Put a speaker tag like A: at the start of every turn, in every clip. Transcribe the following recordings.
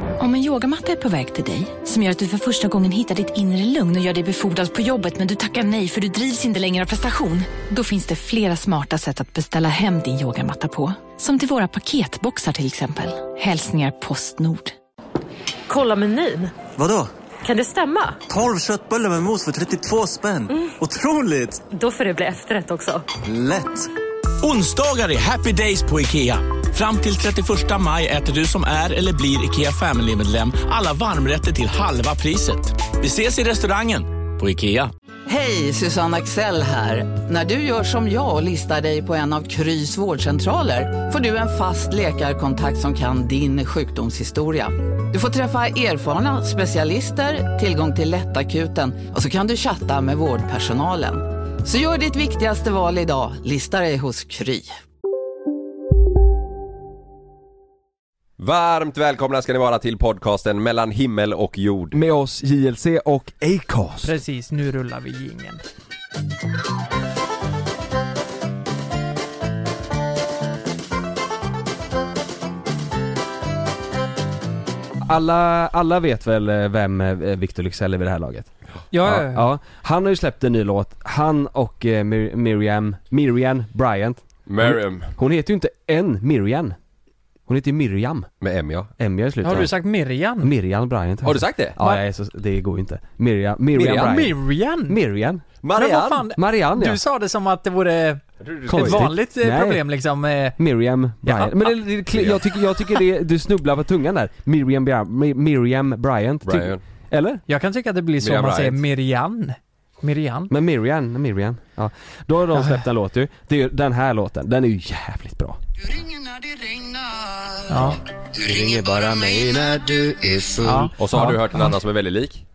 A: Om en yogamatta är på väg till dig, som gör att du för första gången hittar ditt inre lugn och gör dig befordrad på jobbet men du tackar nej för du drivs inte längre av prestation. Då finns det flera smarta sätt att beställa hem din yogamatta på. Som till våra paketboxar till exempel. Hälsningar Postnord.
B: Kolla menyn.
C: Vadå?
B: Kan det stämma?
C: 12 köttbullar med mos för 32 spänn. Otroligt!
B: Då får det bli efterrätt också.
C: Lätt!
D: Onsdagar är happy days på IKEA. Fram till 31 maj äter du som är eller blir IKEA Family-medlem alla varmrätter till halva priset. Vi ses i restaurangen på IKEA.
E: Hej, Susanne Axel här. När du gör som jag och listar dig på en av Krys vårdcentraler får du en fast läkarkontakt som kan din sjukdomshistoria. Du får träffa erfarna specialister, tillgång till lättakuten och så kan du chatta med vårdpersonalen. Så gör ditt viktigaste val idag, listar dig hos Kry.
F: Varmt välkomna ska ni vara till podcasten mellan himmel och jord.
G: Med oss JLC och Acast.
H: Precis, nu rullar vi jingeln.
G: Alla, alla vet väl eh, vem eh, Victor Lyxell är vid det här laget?
H: Ja, ja.
G: ja. Han har ju släppt en ny låt, han och eh, Mir- Miriam, Miriam Bryant.
F: Miriam.
G: Hon heter ju inte en Miriam. Hon heter ju Miriam.
F: Med M ja.
G: M i slutet.
H: Har du sagt Mirjan?
G: Miriam Bryant.
F: Har du sagt det?
G: Ja, nej, så, det går ju inte. Miriam,
F: Miriam?
G: Miriam, Bryant.
H: Mirjan?
G: Miriam.
H: Men vad fan?
G: Marianne ja.
H: Du sa det som att det vore ett
G: Konstigt.
H: vanligt eh,
G: Nej.
H: problem liksom. eh,
G: Miriam Bryant.
H: Ja.
G: Men det, det, kli- jag tycker, jag tycker det, du snubblar på tungan där. Miriam, Bryant- Mi- Miriam Bryant. ty-
F: Brian.
G: Eller?
H: Jag kan tycka att det blir så
F: Miriam
H: man säger
F: Bryant.
H: Mirjan. Mirjan.
G: Men Miriam, Miriam. Ja. Då har de släppt en låt ju. Det är ju den här låten, den är ju jävligt bra.
H: Ja.
C: Du ringer bara mig när du är full.
H: ja.
F: Mm. Och så har du hört en annan som är väldigt lik.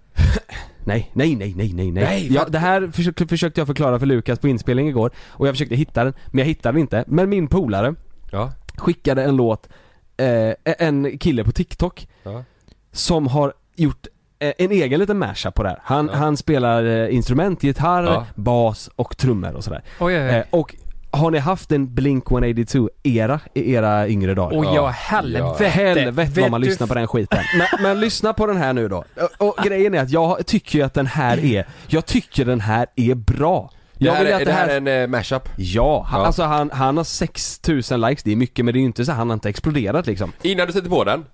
G: Nej, nej, nej, nej, nej, nej.
F: Nej,
G: ja,
F: fan.
G: det här försökte, försökte jag förklara för Lukas på inspelning igår och jag försökte hitta den, men jag hittade den inte. Men min polare
F: Ja.
G: skickade en låt, eh, en kille på TikTok
F: Ja.
G: som har gjort eh, en egen liten mashup på det här. Han, han spelar eh, instrument, gitarr,
F: Ja.
G: bas och trummor och sådär.
H: Oj, oj,
G: Eh,
H: oj.
G: och har ni haft en Blink 182-era i era yngre dagar?
H: Oj,
F: ja.
H: ja, helvete.
G: Helvete vad
H: Vet
G: man
H: du-
G: lyssnar på den skiten. Men, men lyssna på den här nu då. Och, och grejen är att jag tycker ju att den här är, jag tycker den här är bra.
F: Det
G: Jag
F: här,
G: vill
F: är,
G: att
F: det här är en eh, mashup.
G: Ja, han,
F: Ja.
G: alltså han, han har 6000 likes, det är mycket men det är ju inte så, han har inte exploderat liksom.
F: Innan du sätter på den.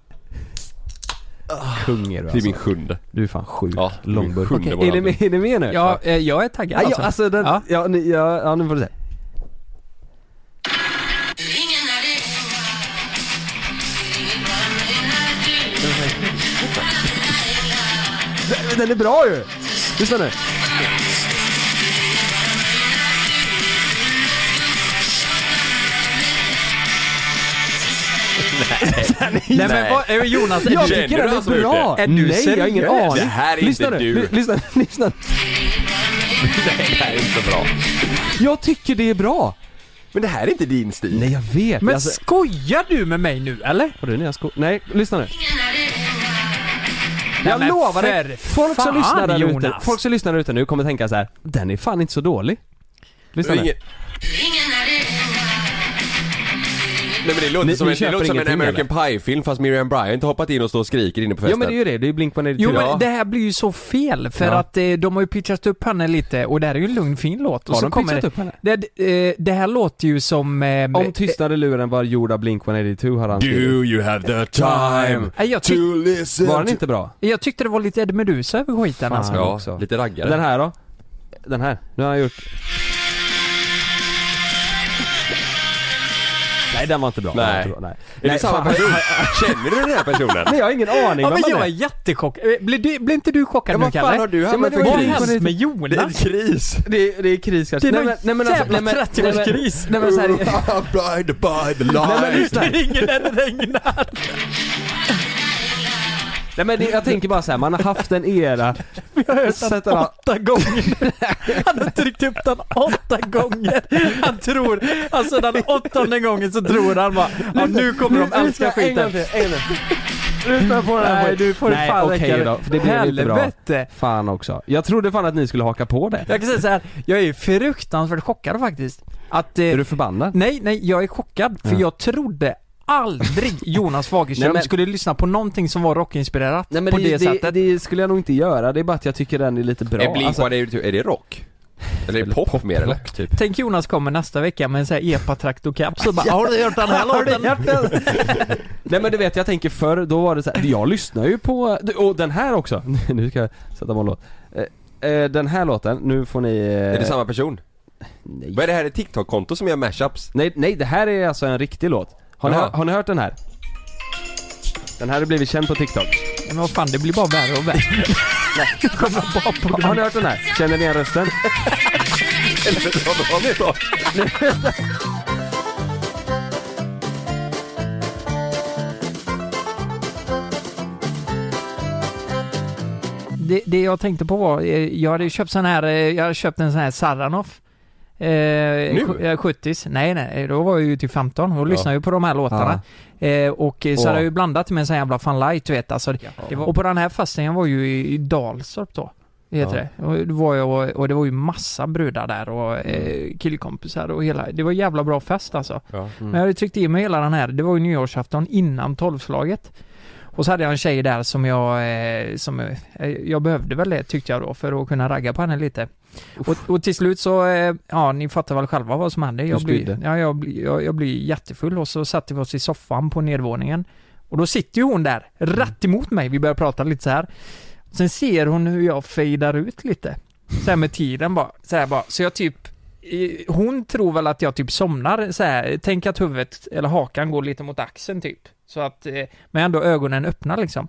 G: Kung är du
F: Det är
G: alltså.
F: min sjunde.
G: Du är fan sjuk.
F: Ja, min
G: Långburk.
F: sjunde
G: Okej,
F: månad
G: är, ni med, är ni med nu?
H: Ja, eh, jag är taggad
G: Ja,
H: alltså.
G: ja, alltså den,
H: Ja.
G: ja. ni, ja, ja nu får du se. Den- Den är bra ju! Lyssna nu.
H: Nej, men vad, eh, Jonas, är
G: Jag
H: du,
F: Känner du
G: tycker den
F: han
G: är
F: som har
G: bra!
F: gjort
H: det? Är du
G: Nej, jag har ingen
H: seriös?
G: aning.
F: Det här är inte
G: lyssna nu.
F: du.
G: Ly- Lyssna, lyssna.
F: Det här är inte bra.
G: Jag tycker det är bra.
F: Men det här är inte din stil.
G: Nej, jag vet.
H: men
G: alltså,
H: skojar du med mig nu eller?
G: har du nya skor? Nej, lyssna nu.
H: Nej,
G: Jag
H: men
G: lovar
H: för
G: dig, folk
H: fan,
G: som, lyssnar där ute,
H: Jonas.
G: folk som lyssnar där ute nu kommer tänka så här: den är fan inte så dålig. Lyssna
F: Det är
G: nu.
F: ingen- Nej men det låter
G: Ni-
F: som,
G: ni
F: en, det låter som
G: köper
F: en
G: ingenting,
F: American Pie-film fast Miriam Bryant har hoppat in och står och skriker inne på festen.
G: Ja men det är ju det, det är ju Blink-182.
H: Jo
F: Ja.
H: men det här blir ju så fel för
G: Ja.
H: att eh, de har ju pitchat upp henne lite och det här är ju en lugn fin låt. och
G: Har
H: så
G: de
H: kommer
G: pitchat
H: det,
G: upp henne?
H: Det, eh, det här låter ju som... Eh,
G: Om tystnad i luren var gjord av Blink-182 hade han skrivit.
F: Do you have the time
H: Nej, jag tyck-
F: to listen
G: Var den
F: to-
G: inte bra?
H: eh, jag tyckte det var lite Ed Meduza över skiten
G: Fan.
H: alltså.
F: Ja,
G: också.
F: lite raggare.
G: Den här då? Den här. Nu har han gjort... Nej den var inte bra. Den var
F: Nej.
G: inte bra. Nej.
F: Är det
G: Nej,
F: samma
G: fan.
F: person? Känner du den här personen?
G: Nej jag har ingen aning
H: Ja,
G: vem
H: men
G: han
H: jag är
G: är.
H: jättechockad. Eh, Blir, du, blir inte du chockad
F: Ja,
H: nu
F: vad fan
H: Kalle?
F: har du
H: ja,
F: hamnat
H: men
F: för
H: vad har
F: kris?
H: hänt med
F: Det är en
H: Jonas?
F: kris!
G: Det, är kris kanske.
H: Det är någon jävla
G: nej, men-
H: 30-årskris.
G: Nej men såhär,
F: Blind by the
G: Nej, men
F: light
G: lyssna.
H: Det ringer när det regnar.
G: nej men det, jag tänker bara såhär, man har haft en era.
H: Jag har hört
G: Sätter
H: den
G: han-
H: åtta gånger. Han har tryckt upp den åtta gånger. Han tror, alltså den åttonde gången så tror han bara, ja, nu kommer de älska skiten.
G: Lyssna på den
H: Nej,
G: här
H: du får
G: Nej
H: fan
G: okej
H: räcka.
G: då, för det blev inte bra.
H: Helvete.
G: Fan också. Jag trodde fan att ni skulle haka på det.
H: Jag kan säga så här, jag är fruktansvärt chockad faktiskt. Att, eh,
G: Är du förbannad?
H: nej, nej, jag är chockad för
G: Ja.
H: jag trodde aldrig Jonas Fagerström
G: Nej, men-
H: skulle lyssna på någonting som var rockinspirerat
G: Nej, men
H: på
G: det,
H: det, sättet.
G: det skulle jag nog inte göra, det är bara att jag tycker den är lite bra.
F: är Blink
G: Alltså,
F: 182, är det rock? Eller är det pop, mer eller? Typ.
H: Tänk Jonas kommer nästa vecka med en sån här epa-traktor-cap så bara Har du hört den här låten?
G: nej men du vet, jag tänker förr, då var det så här, jag lyssnar ju på, och den här också, nu ska jag sätta på en låt. Eh, eh, Den här låten, nu får ni... eh,
F: Är det samma person?
G: Nej.
F: Vad är det här, ett TikTok-konto som gör mashups?
G: Nej, nej, det här är alltså en riktig låt. Har ni,
F: Jaha.
G: har ni hört den här? Den här har blivit känd på TikTok.
H: Men vad fan, det blir bara värre och värre. Det kommer bara på
G: Har, har ni hört den här? Känner ni igen rösten?
H: det, det jag tänkte på var, eh, jag hade ju köpt sån här, eh, jag hade köpt en sån här Saranoff. Eh, nu? 70s. Nej nej, eh, då var jag ju till 15 och lyssnade ju på de här låtarna. Eh, och eh, så
G: Åh.
H: hade jag ju blandat med en sån jävla fan light du vet alltså. Det var, och på den här festen var ju i, i Dalstorp då. Heter det. Och, det var jag, och, och det var ju massa brudar där och eh, killkompisar och hela, det var en jävla bra fest alltså. Men jag hade tryckt i mig hela den här, det var ju nyårsafton innan tolvslaget. Och så hade jag en tjej där som jag, eh, som, eh, jag behövde väl det tyckte jag då för att kunna ragga på henne lite. Och, och till slut så, eh, ja ni fattar väl själva vad som hände. Jag
G: Du
H: blir,
G: spydde.
H: ja, jag, blir, jag, jag blir jättefull och så satte vi oss i soffan på nedervåningen. Och då sitter ju hon där, rätt emot mig, vi börjar prata lite så här. Sen ser hon hur jag fejdar ut lite. Så här med tiden bara, så här bara. Så jag typ eh, hon tror väl att jag typ somnar så här. tänk att huvudet eller hakan går lite mot axeln typ. Så att, eh, men ändå ögonen öppna liksom.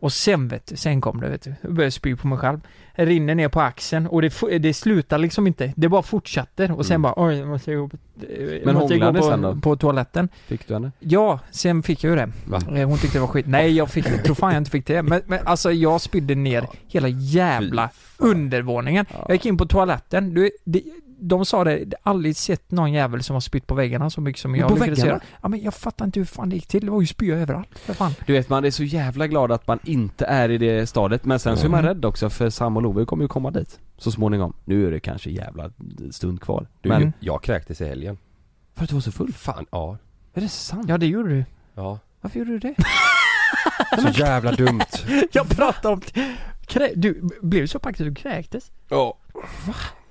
H: Och sen vet du, sen kom det vet du, jag började spy på mig själv. Jag rinner ner på axeln och det, fo- det slutar liksom inte, det bara fortsätter och sen bara oj, jag måste gå på, jag
G: Mm. Men
H: måste gå
G: hånglade sen
H: på,
G: då?
H: på toaletten.
G: Fick du henne?
H: Ja, sen fick jag ju det.
F: Va?
H: Eh, Hon tyckte det var skit. Nej, jag fick tror fan jag inte fick det. Men, men alltså jag spydde ner hela jävla undervåningen. Jag gick in på toaletten. Du, de, de sa det, de har aldrig sett någon jävel som har spytt på väggarna så mycket som jag
G: på
H: lyckades
G: väggarna?
H: göra. Ja men jag fattar inte hur fan det gick till. Det var ju spya överallt. För fan.
G: Du vet man är så jävla glad att man inte är i det stadiet men sen så är man
F: Mm.
G: rädd också för Sam och Love kommer ju komma dit så småningom. Nu är det kanske jävla stund kvar.
F: Du,
G: men
F: jag kräktes i helgen.
G: för att du var så full?
F: Fan, ja.
G: Är det sant?
H: Ja det gjorde du.
F: ja.
G: Varför gjorde du det?
F: Så jävla dumt.
H: Jag pratade om... Krä, du blev du så packad att du kräktes.
F: Ja.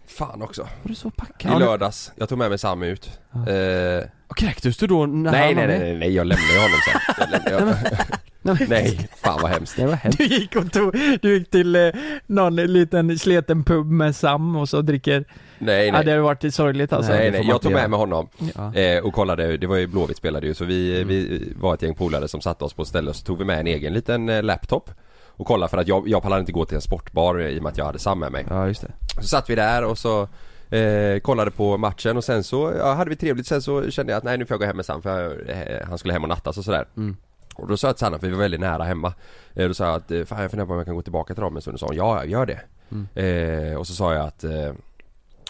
F: Fan också.
G: Var du så
F: I
G: packad?
F: lördags, jag tog med mig Sam ut. Eh, nej,
G: Och Kräktes du då när
F: nej,
G: han var
F: nej,
G: med?
F: nej, nej, jag lämnade ju honom sen. Jag lämnade,
G: Nej,
F: jag,
G: men-
F: nej, fan vad hemskt.
G: Det var hemskt.
H: Du gick och tog, du gick till eh, någon liten sleten pub med Sam och så dricker.
F: Nej,
H: Ja,
F: nej.
H: det hade varit sorgligt alltså.
F: Nej, nej,
G: det får man
F: jag
G: inte
F: tog
G: göra.
F: med mig honom
G: Ja. Mm.
F: eh, och kollade, det var ju Blåvitt spelade ju så vi, vi var ett gäng polare som satte oss på ett ställe och så tog vi med en egen liten eh, laptop och kollade för att jag, jag pallade inte gå till en sportbar eh, i och med att jag hade Sam med mig.
G: Ja just det.
F: Så satt vi där och så eh, kollade på matchen och sen så ja, hade vi trevligt sen så kände jag att nej nu får jag gå hem med Sam för jag, eh, han skulle hem och nattas och sådär. Och då sa jag till Sanna, för vi var väldigt nära hemma eh, Då sa jag att eh, fan jag funderar på om jag kan gå tillbaka till dem en stund och sa hon, ja gör det eh, Och så sa jag att eh,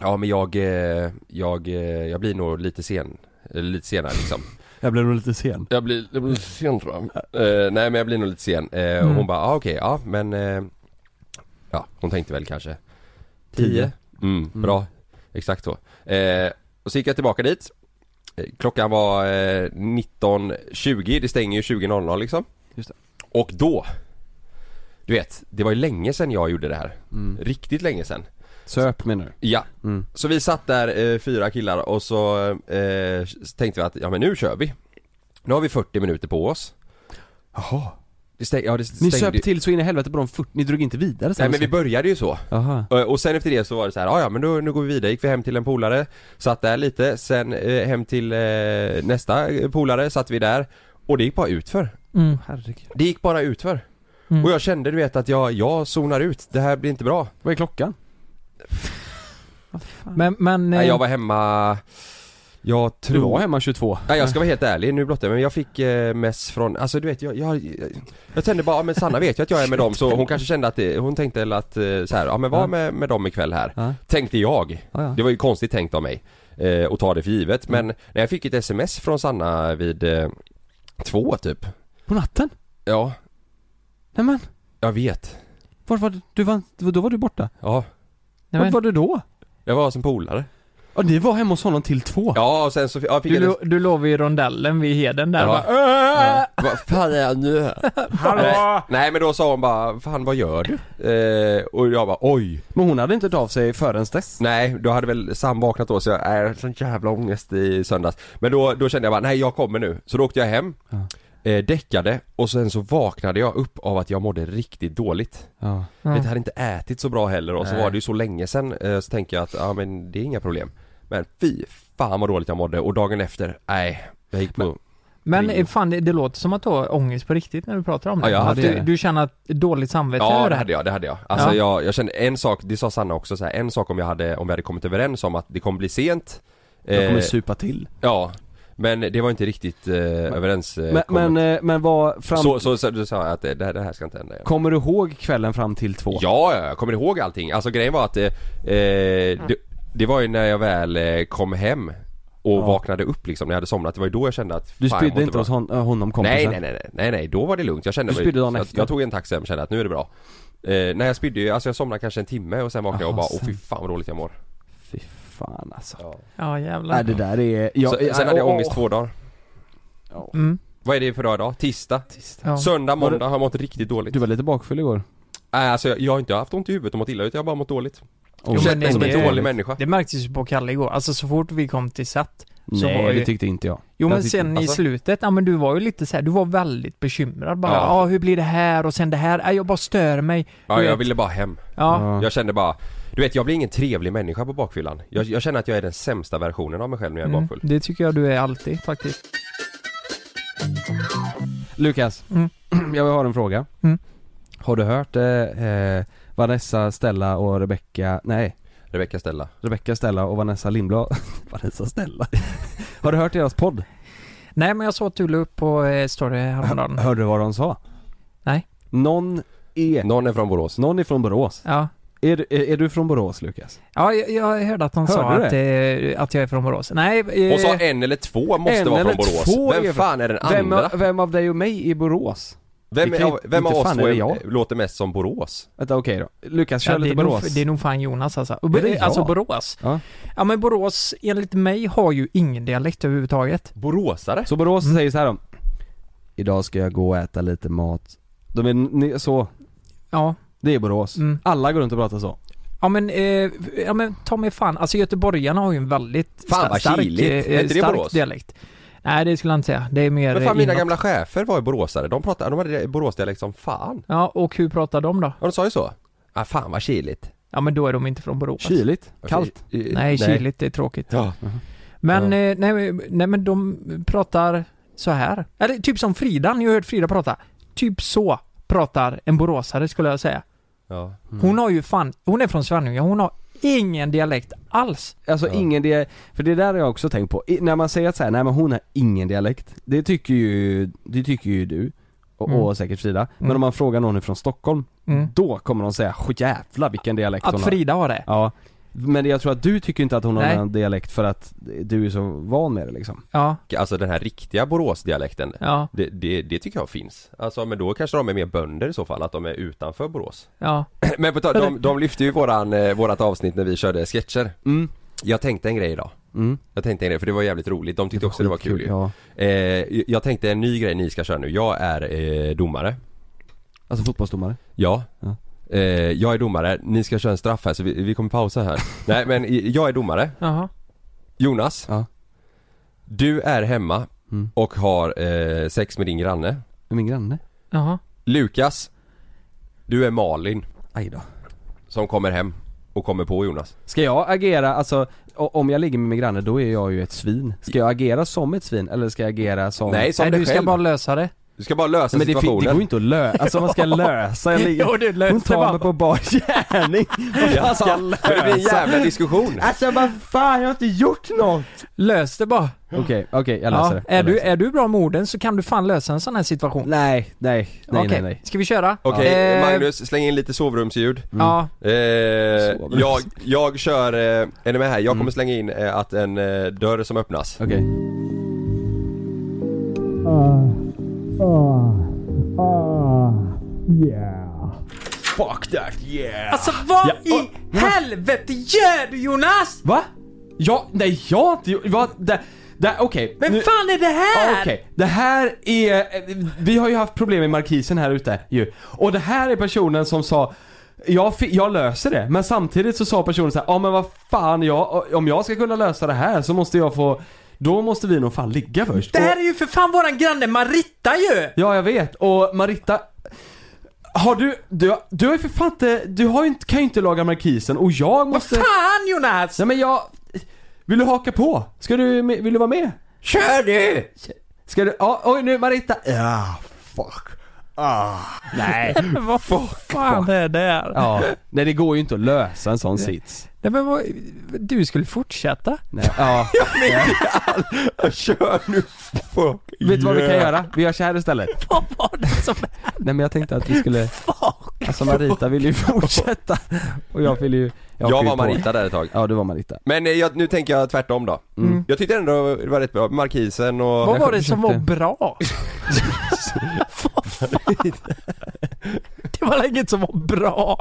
F: Ja men jag, eh, jag, eh, jag blir nog lite sen Eller lite senare liksom
G: Jag blev nog lite sen.
F: jag blir, jag blir lite sen tror jag. Eh, nej men jag blir nog lite sen. Eh,
G: Mm.
F: Och hon bara, ah, okej, ja men... Eh, ja, hon tänkte väl kanske
G: Tio.
F: Mm, bra. Exakt så. Eh, och så gick jag tillbaka dit. Eh, Klockan var eh, 19.20, det stänger ju 20.00 liksom.
G: Just det.
F: Och då, du vet, det var ju länge sedan jag gjorde det här.
G: Mm.
F: Riktigt länge sedan.
G: Söp menar du?
F: Ja,
G: Mm.
F: så vi satt där eh, fyra killar och så eh, tänkte vi att ja men nu kör vi. Nu har vi 40 minuter på oss.
G: Jaha.
F: Det stäng, ja, det stängde,
G: Ni söp till liksom. så in i helvete på de 40, ni drog inte vidare sen?
F: Nej men vi började ju så. Eh,
G: Aha.
F: Och- Och sen efter det så var det så här, "Ah, ja men då, nu går vi vidare, gick vi hem till en polare, satt där lite, sen eh, hem till eh, nästa eh, polare, satt vi där. Och det gick bara utför.
H: Mm.
G: Herregud.
F: Det gick bara utför.
H: Mm.
F: Och jag kände du vet att jag, jag zonar ut, det här blir inte bra.
G: Vad är klockan?
H: Men, men...
F: Nej,
H: eh,
F: jag var hemma, jag
G: Du
F: tror...
G: var hemma 22.
F: Ja, jag ska vara helt ärlig nu blottar jag mig, men jag fick eh, mess från, alltså du vet jag, jag, jag, jag kände bara, ja, men Sanna vet ju att jag är med dem så hon kanske kände att, det, hon tänkte väl att eh, så här, ja men var
G: Ja.
F: med, med dem ikväll här.
G: Ja.
F: Tänkte jag.
G: Ja, ja.
F: Det var ju konstigt tänkt av mig. Eh, och ta det för givet, men när jag fick ett sms från Sanna vid eh, två typ.
G: På natten?
F: Ja,
G: Nej men,
F: jag vet.
G: var var du? du var, då var du borta.
F: Ja,
H: nej,
G: Var
H: men
G: var du då?
F: jag var som polare.
G: Ja, ni var hemma hos honom till två?
F: Ja, och sen så ja, fick
H: Du,
F: jag
H: lo- du låg vid rondellen vid Heden där
F: Ja.
H: va? Äh,
F: Vad fan är jag nu? Nej, nej men då sa hon bara, fan vad gör du? Eh, och jag bara, oj.
G: Men hon hade inte hört av sig förrän dess?
F: Nej, då hade väl Sam vaknat då så jag är sån jävla ångest i söndags. Men då, då kände jag bara, nej jag kommer nu. Så då åkte jag hem, eh, däckade och sen så vaknade jag upp av att jag mådde riktigt dåligt.
G: Ja.
F: Vet, jag hade inte ätit så bra heller och så var det ju så länge sen eh, så tänker jag att, ja men det är inga problem. Men fy fan vad dåligt jag mådde och dagen efter, nej. Jag gick på...
H: Men
F: Ringo.
H: eh, fan, det, det låter som att du har ångest på riktigt när du pratar om det.
F: Ja, jag hade
H: du,
F: det.
H: du känner att dåligt samvete
F: Ja
H: över
F: det
H: det här.
F: hade jag, det hade jag. Alltså
H: Ja.
F: jag, jag kände en sak, det sa Sanna också så här, en sak om jag hade, om vi hade kommit överens om att det kommer bli sent
G: Jag kommer
F: eh,
G: supa till.
F: Ja, men det var inte riktigt eh, överens eh,
G: Men,
F: kommet.
G: men, eh, men vad, fram...
F: så, så, så, så sa jag att eh, det, det här- det här ska inte hända igen.
G: Kommer du ihåg kvällen fram till två?
F: Ja, ja, jag kommer ihåg allting. Alltså grejen var att eh, eh, det, det var ju när jag väl eh, kom hem och vaknade upp liksom, när jag hade somnat. Det var ju då jag kände att fan,
G: Du
F: jag
G: spydde
F: mår
G: inte
F: bra.
G: hos hon, äh, honom kompisen?
F: Nej, nej, nej, nej, nej, nej, då var det lugnt. Jag kände
G: Du spydde dagen
F: jag,
G: efter.
F: jag tog en taxi hem och kände att nu är det bra. Eh, nej jag spydde ju, alltså jag somnade kanske en timme och sen vaknade jag och
G: Jaha,
F: bara åh
G: sen.
F: fy fan vad dåligt jag mår.
G: Fy fan alltså.
H: Ja, jävlar.
G: Nej det där är... Jag,
F: så, sen hade jag ångest två dagar.
H: Mm.
F: Vad är det för dag idag? Tisdag?
H: Ja.
F: Söndag,
G: Var det-
F: måndag har jag mått riktigt dåligt.
G: Du var lite bakfull igår.
F: Nej alltså jag, jag har inte haft ont i huvudet och mått illa ut, jag har bara mått dåligt.
G: Oh,
H: Jo,
F: jag
H: men
F: känner mig som
H: det-
F: en dålig människa.
H: Det märktes ju på Kalle igår. Alltså så fort vi kom till SAT. så var
G: Nej
H: ju-
G: det tyckte inte jag.
H: Jo
G: Jag
H: men
G: tyckte-
H: sen i
F: alltså-
H: slutet, ja men du var ju lite så här, du var väldigt bekymrad bara.
F: Ja.
H: Ja, hur blir det här och sen det här? Nej, jag bara stör mig.
F: Ja,
H: Du
F: jag
H: vet.
F: ville bara hem.
H: Ja.
G: Ja.
F: Jag kände bara, du vet jag blir ingen trevlig människa på bakfyllan. Jag, jag känner att jag är den sämsta versionen av mig själv när jag är
H: Mm,
F: bakfull.
H: det tycker jag du är alltid faktiskt.
G: Lukas,
H: Mm.
G: jag har en fråga.
H: Mm.
G: Har du hört eh, eh, Vanessa, Stella och Rebecca, nej,
F: Rebecka Stella.
G: Rebecca, Stella och Vanessa Lindblad. Vanessa Stella. har du hört deras podd?
H: Nej men jag såg att du la upp på eh, story häromdagen.
G: Hörde du vad de sa?
H: Nej.
G: Någon är,
F: Någon är från Borås.
G: någon är från Borås.
H: Ja.
G: Är, du- är, är du från Borås Lukas?
H: Ja, jag, jag hörde att de sa
G: Hörde du
H: att, eh, att jag är från Borås. Nej, eh,
F: Och så en eller två måste
G: en
F: vara
G: eller
F: från Borås.
G: två är
F: Vem
G: från-
F: fan är den
G: Vem,
F: andra?
G: av- vem av dig och mig är Borås?
F: Vem,
G: Vilken-
F: av- vem av
G: inte
F: oss
G: fan är
F: två
G: det
F: är-
G: jag?
F: låter mest som Borås?
G: Vänta okej då. Lukas, kör
H: ja, det,
G: lite
H: är nog,
G: Borås.
H: det är nog fan Jonas alltså.
G: Är det jag?
H: Alltså Borås.
G: Ja.
H: Ja men Borås, enligt mig, har ju ingen dialekt överhuvudtaget.
F: Boråsare?
G: Så Borås
H: Mm.
G: säger så här då. Idag ska jag gå och äta lite mat. De är ni, så,
H: Ja.
G: det är Borås.
H: Mm.
G: Alla går runt och pratar så.
H: Ja men, eh, ja men ta mig fan, alltså göteborgarna har ju en väldigt
F: Fan,
H: sta-
F: vad
H: stark,
F: kyligt.
H: eh,
F: Är inte det
H: stark
F: Borås?
H: dialekt. Nej det skulle jag inte säga, det är mer
F: Men fan
H: eh,
F: mina
H: inåt.
F: gamla chefer var ju boråsare. De, pratade, de hade Boråsdialekt som fan.
H: Ja och hur pratar de då?
F: Ja de sa ju så. Ah, fan vad kyligt.
H: Ja men då är de inte från Borås.
G: Kyligt. Kallt.
F: Nej,
H: Nej, kyligt, det är tråkigt. Mhm.
F: Ja.
H: Men, eh, nej, nej men de pratar så här. Eller typ som Frida, ni har hört Frida prata. Typ så pratar en boråsare skulle jag säga.
F: Ja.
G: Mm.
H: Hon har ju fan, hon är från Svenljunga, hon har ingen dialekt alls.
G: Alltså ingen dialekt, för det där har jag också tänkt på. I, när man säger att så här, nej men hon har ingen dialekt. Det tycker ju, det tycker ju du. Och,
H: Mm.
G: och säkert Frida. Men
H: Mm.
G: om man frågar någon från Stockholm,
H: Mm.
G: då kommer de säga "Åh, jävlar vilken dialekt hon
H: Att
G: har.
H: Frida har det.
G: Ja. Men jag tror att du tycker inte att hon
H: Nej.
G: har en dialekt för att du är så van med det liksom.
H: Ja,
F: Alltså den här riktiga Boråsdialekten.
H: ja,
F: Det, det, det tycker jag finns. Alltså men då kanske de är mer bönder i så fall, att de är utanför Borås.
H: ja.
F: Men på tal, de, de lyfte ju våran, eh, vårat avsnitt när vi körde sketcher.
G: Mm.
F: Jag tänkte en grej idag.
G: Mm.
F: Jag tänkte en grej, för det var jävligt roligt. De tyckte också det var kul ju.
G: Ja.
F: Eh, jag tänkte en ny grej ni ska köra nu. Jag är eh, domare.
G: Alltså fotbollsdomare.
F: Ja.
G: Ja.
F: Eh, jag är domare. Ni ska köra en straff här så vi, vi kommer pausa här. Nej men i- jag är domare.
H: Jaha.
F: Jonas.
G: Ja.
F: Du är hemma
G: Mm.
F: och har eh, sex med din granne.
G: Är min granne?
H: Jaha.
F: Lukas. Du är Malin
G: Aj då.
F: som kommer hem och kommer på Jonas.
G: Ska jag agera, alltså o- om jag ligger med min granne då är jag ju ett svin. Ska jag agera som ett svin eller ska jag agera som...
F: Nej som
H: Nej,
F: dig
H: du ska
F: själv.
H: bara lösa det.
F: Du ska bara lösa
G: Men det, fi- det
F: situationen.
G: går ju inte att lösa, alltså man ska lösa en ligga.
H: Jo, det löste
G: Hon tar
H: man.
G: mig på bar gärning. Vad fan ska jag
F: Men det blir en
G: lösa?
F: jävla diskussion.
G: Alltså vad fan, jag har inte gjort något!
H: Lös det bara.
G: Okej, okej jag löser
H: Ja,
G: det. Jag
H: är, du,
G: löser det.
H: är du bra med orden så kan du fan lösa en sån här situation.
G: Nej, nej, nej,
H: Okej,
G: nej, nej.
H: ska vi köra?
F: Okej,
G: Äh.
H: Eh,
F: Magnus, släng in lite sovrumsljud.
G: Mm.
H: Ja,
F: Eh,
G: Sovrums.
F: jag, jag kör, eh, är ni med här? Jag kommer slänga in eh, att en eh, dörr som öppnas.
G: Mm. Okej. Ah,
F: Fuck that yeah!
H: Alltså vad i helvete gör du Jonas?
G: Va? Ja, nej jag har inte gjort- vad, det, det, okej.
H: Vem
G: nu-
H: fan är det
G: Ja,
H: här?
G: Okej, det här är... Vi har ju haft problem med markisen här ute ju. Och det här är personen som sa jag, fi- jag löser det, men samtidigt så sa personen så här, ja men vad fan, jag, om jag ska kunna lösa det här så måste jag få, då måste vi nog fan ligga först.
H: Det här
G: Och-
H: är ju för fan våran granne Maritta ju!
G: Ja, jag vet. Och Marita... Har du... Du, du har ju för fan inte... Du har ju inte, kan ju inte laga markisen och jag
H: Vad
G: måste...
H: fan Jonas!
G: Nej men jag... Vill du haka på? Ska du... med- Vill du vara med?
H: Kör du!
G: Ska du... Ja, oj nu Marita! Ja, fuck. Nej.
H: Vad fan är det här?
G: Ja. Nej det går ju inte att lösa en sån sits.
H: Nej, men vad, du skulle fortsätta?
G: Nej. Ja.
F: Kör nu! Fuck.
G: Vet du vad vi kan göra? Vi gör så här istället.
H: Vad var det som
G: Nej men jag tänkte att vi skulle... Alltså Marita vill ju fortsätta. Och jag vill ju... hakar
F: Jag
G: ju
F: var
G: på.
F: Marita där ett tag.
G: Ja du var Marita.
F: Men eh, jag, nu tänker jag tvärtom då.
G: Mm.
F: Jag tyckte ändå det var rätt bra, Markisen och...
H: Vad var det som var
G: försökte.
H: bra? Vad fan? det var inget som var bra.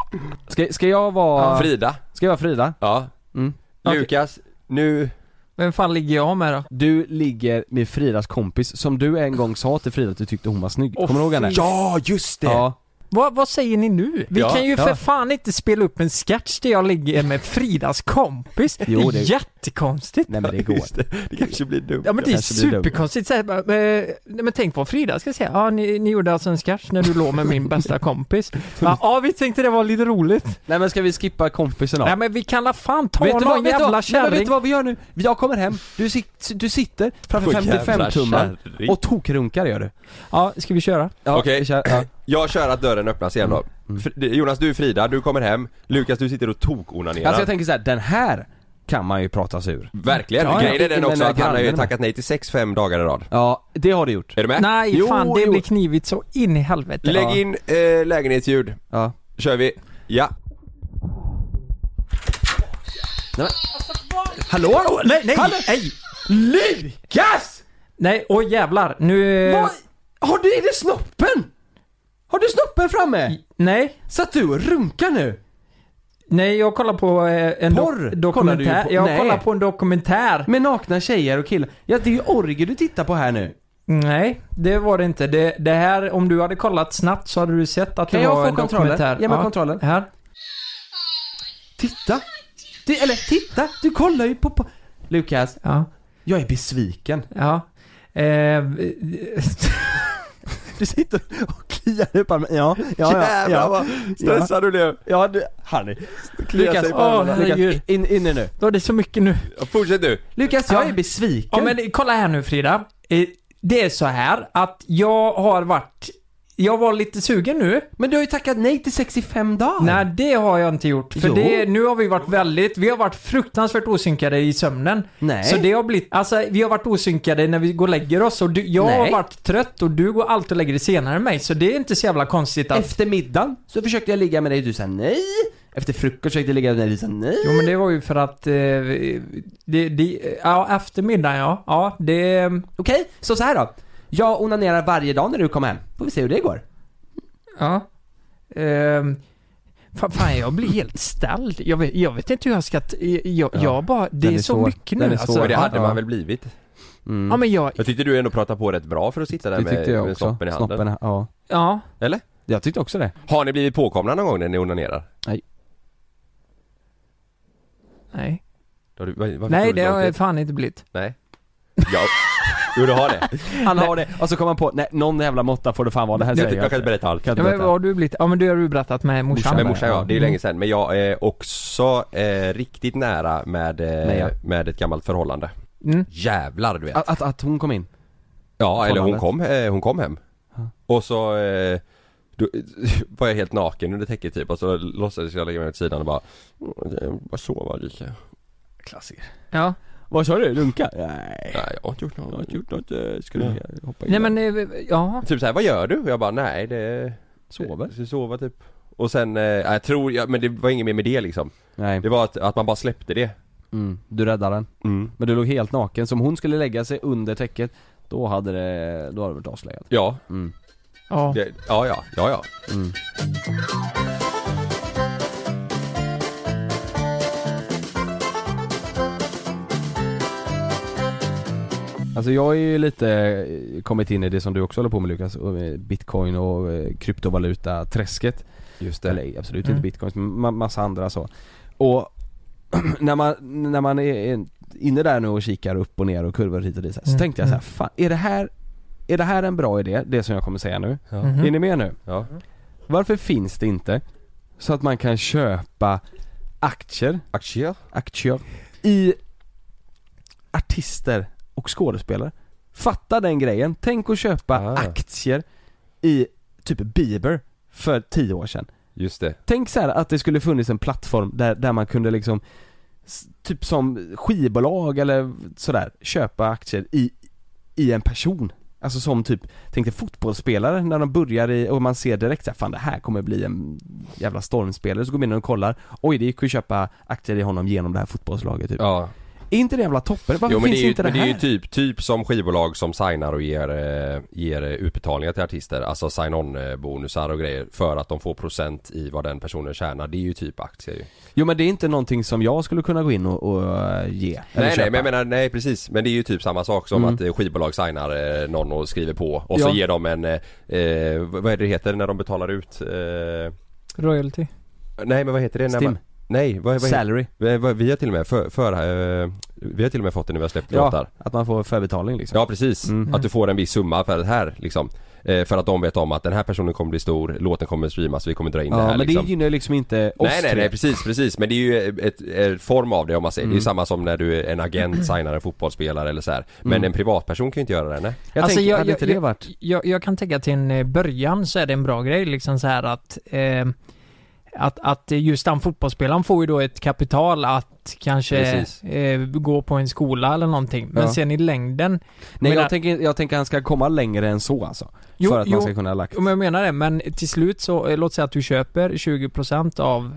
G: Ska, ska jag vara...
F: Frida.
G: Ska jag vara Frida?
F: Ja.
G: Mm.
F: Lukas, nu...
H: Vem fan ligger jag med då?
G: Du ligger med Fridas kompis som du en gång sa till Frida att du tyckte hon var snygg. Kommer du ihåg henne?
F: Ja, just det!
G: Ja.
H: Vad, vad säger ni nu? Vi
F: Ja,
H: kan ju
G: ja.
H: för fan inte spela upp en sketch där jag ligger med Fridas kompis.
G: Jo,
H: det är
G: det-
H: jättekonstigt.
G: Nej men det går.
F: Just det. det kanske blir dumt.
H: Ja men det är
G: Kanske blir dumt.
H: superkonstigt. Så här, bara, eh, nej, men tänk vad Frida ska säga. Ja, ni, ni gjorde alltså en sketch när du låg med min bästa kompis. Ja, ja, vi tänkte det var lite roligt.
G: Nej men ska vi skippa kompisen då?
H: Nej men vi kan la fan ta
G: vet du vad,
H: någon
G: vet du
H: jävla
G: vad, nej, men vet
H: kärring.
G: du vad vi gör nu? Jag kommer hem, du, sit, du sitter framför
F: Åh, jävla
G: 55 tummar
F: kärring.
G: och tokrunkar gör du.
H: Ja, ska vi köra?
G: Ja,
F: Okej.
G: vi kör- ja.
F: Jag kör att dörren öppnas igen
G: Mm.
F: då. Fr- Jonas, du är Frida, du kommer hem. Lukas, du sitter och tok-onanerar.
G: Alltså jag tänker så här, den här kan man ju prata sig ur.
F: Verkligen!
G: Ja, ja.
F: Grejen är den
G: Men
F: också att han har ju
G: grannen-
F: tackat nej till sex fem dagar i rad.
G: Ja, det har du gjort.
F: Är du med?
H: Nej
G: Jo,
H: fan, det
G: jo.
H: blir knivigt så in i helvete.
F: Lägg in eh, lägenhetsljud.
G: Ja.
F: Kör vi. Ja.
G: Hallå?
H: Nej, nej,
G: Hallå?
H: nej!
G: Lukas!
H: Nej, åh jävlar. Nu... eh,
G: Vad? Har du, är det snoppen? Har du snoppen framme?
H: Nej,
G: Satt du och runkar nu?
H: nej jag kollar på eh, en
G: Porr?
H: do- dokumentär.
G: Kollar du ju på-
H: jag
G: nej.
H: kollar på en dokumentär.
G: Med nakna tjejer och killar. Ja, det är ju orger du tittar på här nu.
H: Nej, det var det inte. Det, det här, om du hade kollat snabbt så hade du sett att
G: Kan
H: det
G: jag
H: var
G: få
H: en
G: kontrollen?
H: dokumentär.
G: Ge mig kontrollen.
H: Här.
G: Titta! Du, eller titta! Du kollar ju på... på. Lukas,
H: Ja,
G: jag är besviken.
H: ja. Eh,
G: Du sitter och kliar upp armen. Ja,
F: Jävlar vad stressad du blev.
G: Ja, du, Harry.
F: Kliar
G: Lukas,
F: sig på
G: åh,
H: armarna.
G: Lukas,
H: Herregud.
G: in, in nu.
H: då är det så mycket nu.
F: Ja, Fortsätt du.
G: Lukas, jag
H: Ja.
G: är besviken.
H: Ja men kolla här nu Frida. Eh, Det är så här att jag har varit... Jag var lite sugen nu.
G: Men du har ju tackat nej till 65 dagar.
H: Nej, det har jag inte gjort. För
G: Jo.
H: det, nu har vi varit väldigt, vi har varit fruktansvärt osynkade i sömnen.
G: Nej.
H: Så det har blivit, alltså vi har varit osynkade när vi går och lägger oss och du, jag har
G: Nej.
H: varit trött och du går alltid och lägger dig senare än mig. Så det är inte så jävla konstigt att...
G: Efter middagen så försökte jag ligga med dig och du sa nej. Efter frukost försökte jag ligga med dig och du sa nej.
H: Jo men det var ju för att... Eh, det, det, ja, eftermiddagen ja. Ja, det...
G: Okej, så så här då. Jag onanerar varje dag när du kommer hem. Får vi se hur det går.
H: Ja. Ehm, fan, fan, jag blir helt ställd. Jag vet, jag vet inte hur jag ska... t- Jag, jag bara... Det
G: Den
H: är,
G: är
H: så
G: svår.
H: mycket
G: Den
H: nu
G: är
H: alltså.
G: svår.
F: Men det hade
G: Ja.
F: man väl blivit?
H: Ja men jag...
F: Jag tyckte du ändå pratade på rätt bra för att sitta där med, med snoppen i handen.
G: Snoppen, ja.
H: Ja.
F: Eller?
G: Jag tyckte också det.
F: Har ni blivit påkomna någon gång när ni onanerar?
H: Nej.
F: Har du- var- varför
H: Nej
F: tog
H: det
F: så lång
H: har jag
F: tid?
H: fan inte blivit.
F: Nej. Ja. Jo du har det.
G: Han har det, och så kommer han på, nej någon jävla måtta får det fan vara, det här
F: Jag,
G: säger
F: jag kan inte berätta allt.
G: Kan
H: Ja,
G: inte
H: men vad
G: berätta. Mm.
H: har du blivit? Ja men du har du berättat med morsan.
F: Med
G: Samma,
F: morsan ja,
G: ja.
F: det är ju länge sedan. Men jag är också eh, riktigt nära med, eh,
G: Men ja.
F: med ett gammalt förhållande.
H: Mm.
F: Jävlar du vet.
G: Att, att, att hon kom in.
F: ja, eller hon
G: förhållandet.
F: kom, eh, hon kom hem. Och så eh, då, var jag helt naken under täcket typ och så låtsades jag lägga mig åt sidan och bara, "Mm, jag bara sova lite.
G: Klassiker.
H: Ja.
G: Vad sa du? Runka? Nej.
F: Nej jag har inte gjort något. Jag har inte gjort något. eh, Ska du
G: Mm.
F: hoppa in?
H: Nej men, eh, ja.
F: Typ såhär, vad gör du? Och jag bara, nej det...
G: Sover?
F: Jag ska sova typ. Och sen, eh, jag tror, ja, men det var inget mer med det liksom.
G: Nej.
F: Det var att, att man bara släppte det.
G: Mm, du räddade den. Men du låg helt naken, så om hon skulle lägga sig under täcket, då hade det, då hade det varit avslöjat.
F: Ja.
H: ja.
F: Det, ja, ja, ja, ja.
G: Alltså jag har ju lite eh, kommit in i det som du också håller på med Lukas, och, eh, bitcoin och eh, kryptovaluta-träsket.
F: Just
G: Eller absolut
H: Mm.
G: inte bitcoins men ma- massa andra så. Och när man, när man är- är inne där nu och kikar upp och ner och kurvor hit och dit så, här, så
H: Mm,
G: tänkte jag så här,
H: mm.
G: fan är det här, är det här en bra idé? Det som jag kommer säga nu.
F: Ja.
H: Mhm.
G: Är ni med nu?
F: Ja.
G: Varför finns det inte så att man kan köpa aktier,
F: Aktier?
G: aktier i artister och skådespelare? Fatta den grejen. Tänk att köpa
F: Ah.
G: aktier i typ Bieber för tio år sedan.
F: Just det.
G: Tänk så här att det skulle funnits en plattform där, där man kunde liksom s- Typ som skivbolag eller sådär köpa aktier i, i en person Alltså som typ, tänk dig fotbollsspelare när de börjar i, och man ser direkt såhär, fan det här kommer bli en jävla stormspelare, så går man in och kollar Oj det gick ju att köpa aktier i honom genom det här fotbollslaget typ
F: Ja.
G: Är inte det jävla toppen? Varför
F: Jo men
G: finns
F: det är ju,
G: inte det
F: men det
G: här?
F: är ju typ, typ som skivbolag som signar och ger, eh, ger eh, utbetalningar till artister. Alltså sign-on eh, bonusar och grejer. För att de får procent i vad den personen tjänar. Det är ju typ aktier ju.
G: Jo men det är inte någonting som jag skulle kunna gå in och, och eh, ge eller
F: Nej
G: köpa.
F: nej men jag menar, nej precis. Men det är ju typ samma sak som
G: Mm.
F: att eh, skivbolag signar eh, någon och skriver på. Och
G: Ja.
F: så ger de en, eh, eh, vad är det det heter när de betalar ut? Eh,
H: Royalty.
F: nej men vad heter det? När
G: Stim,
F: man, nej vad, vad heter
G: salary
F: vi, vad- vi har till och med för, för, eh, vi har till och med fått det när vi har släppt låtar.
G: Ja, att man får förbetalning liksom
F: Ja precis,
G: Mm.
F: att du får en viss summa för det här liksom. Eh, för att de vet om att den här personen kommer bli stor, låten kommer streamas, vi kommer dra in det
G: Ja,
F: här
G: men
F: liksom.
G: det gynnar ju liksom inte oss
F: Nej nej
G: tre. Mm.
F: nej precis, precis. Men det är ju ett, ett form av det om man säger. Det är ju samma som när du är en agent signar en fotbollsspelare eller så här. Men
G: Mm.
F: en privatperson kan ju inte göra det nej.
G: Jag
H: Alltså,
G: tänker,
H: jag-
G: hade
H: jag-
G: inte det
H: jag-
G: varit?
H: Jag, jag kan tänka till en eh, början så är det en bra grej liksom så här att eh, att, att just den fotbollsspelaren får ju då ett kapital att kanske
F: Precis.
H: eh, gå på en skola eller någonting. Men
G: Ja.
H: sen i längden.
G: Nej
H: menar-
G: jag tänker, jag tänker han ska komma längre än så alltså.
H: Jo,
G: för att
H: jo.
G: man ska kunna ha lagt...
H: Jo, men jag menar det, men till slut så, eh, låt säga att du köper 20% av...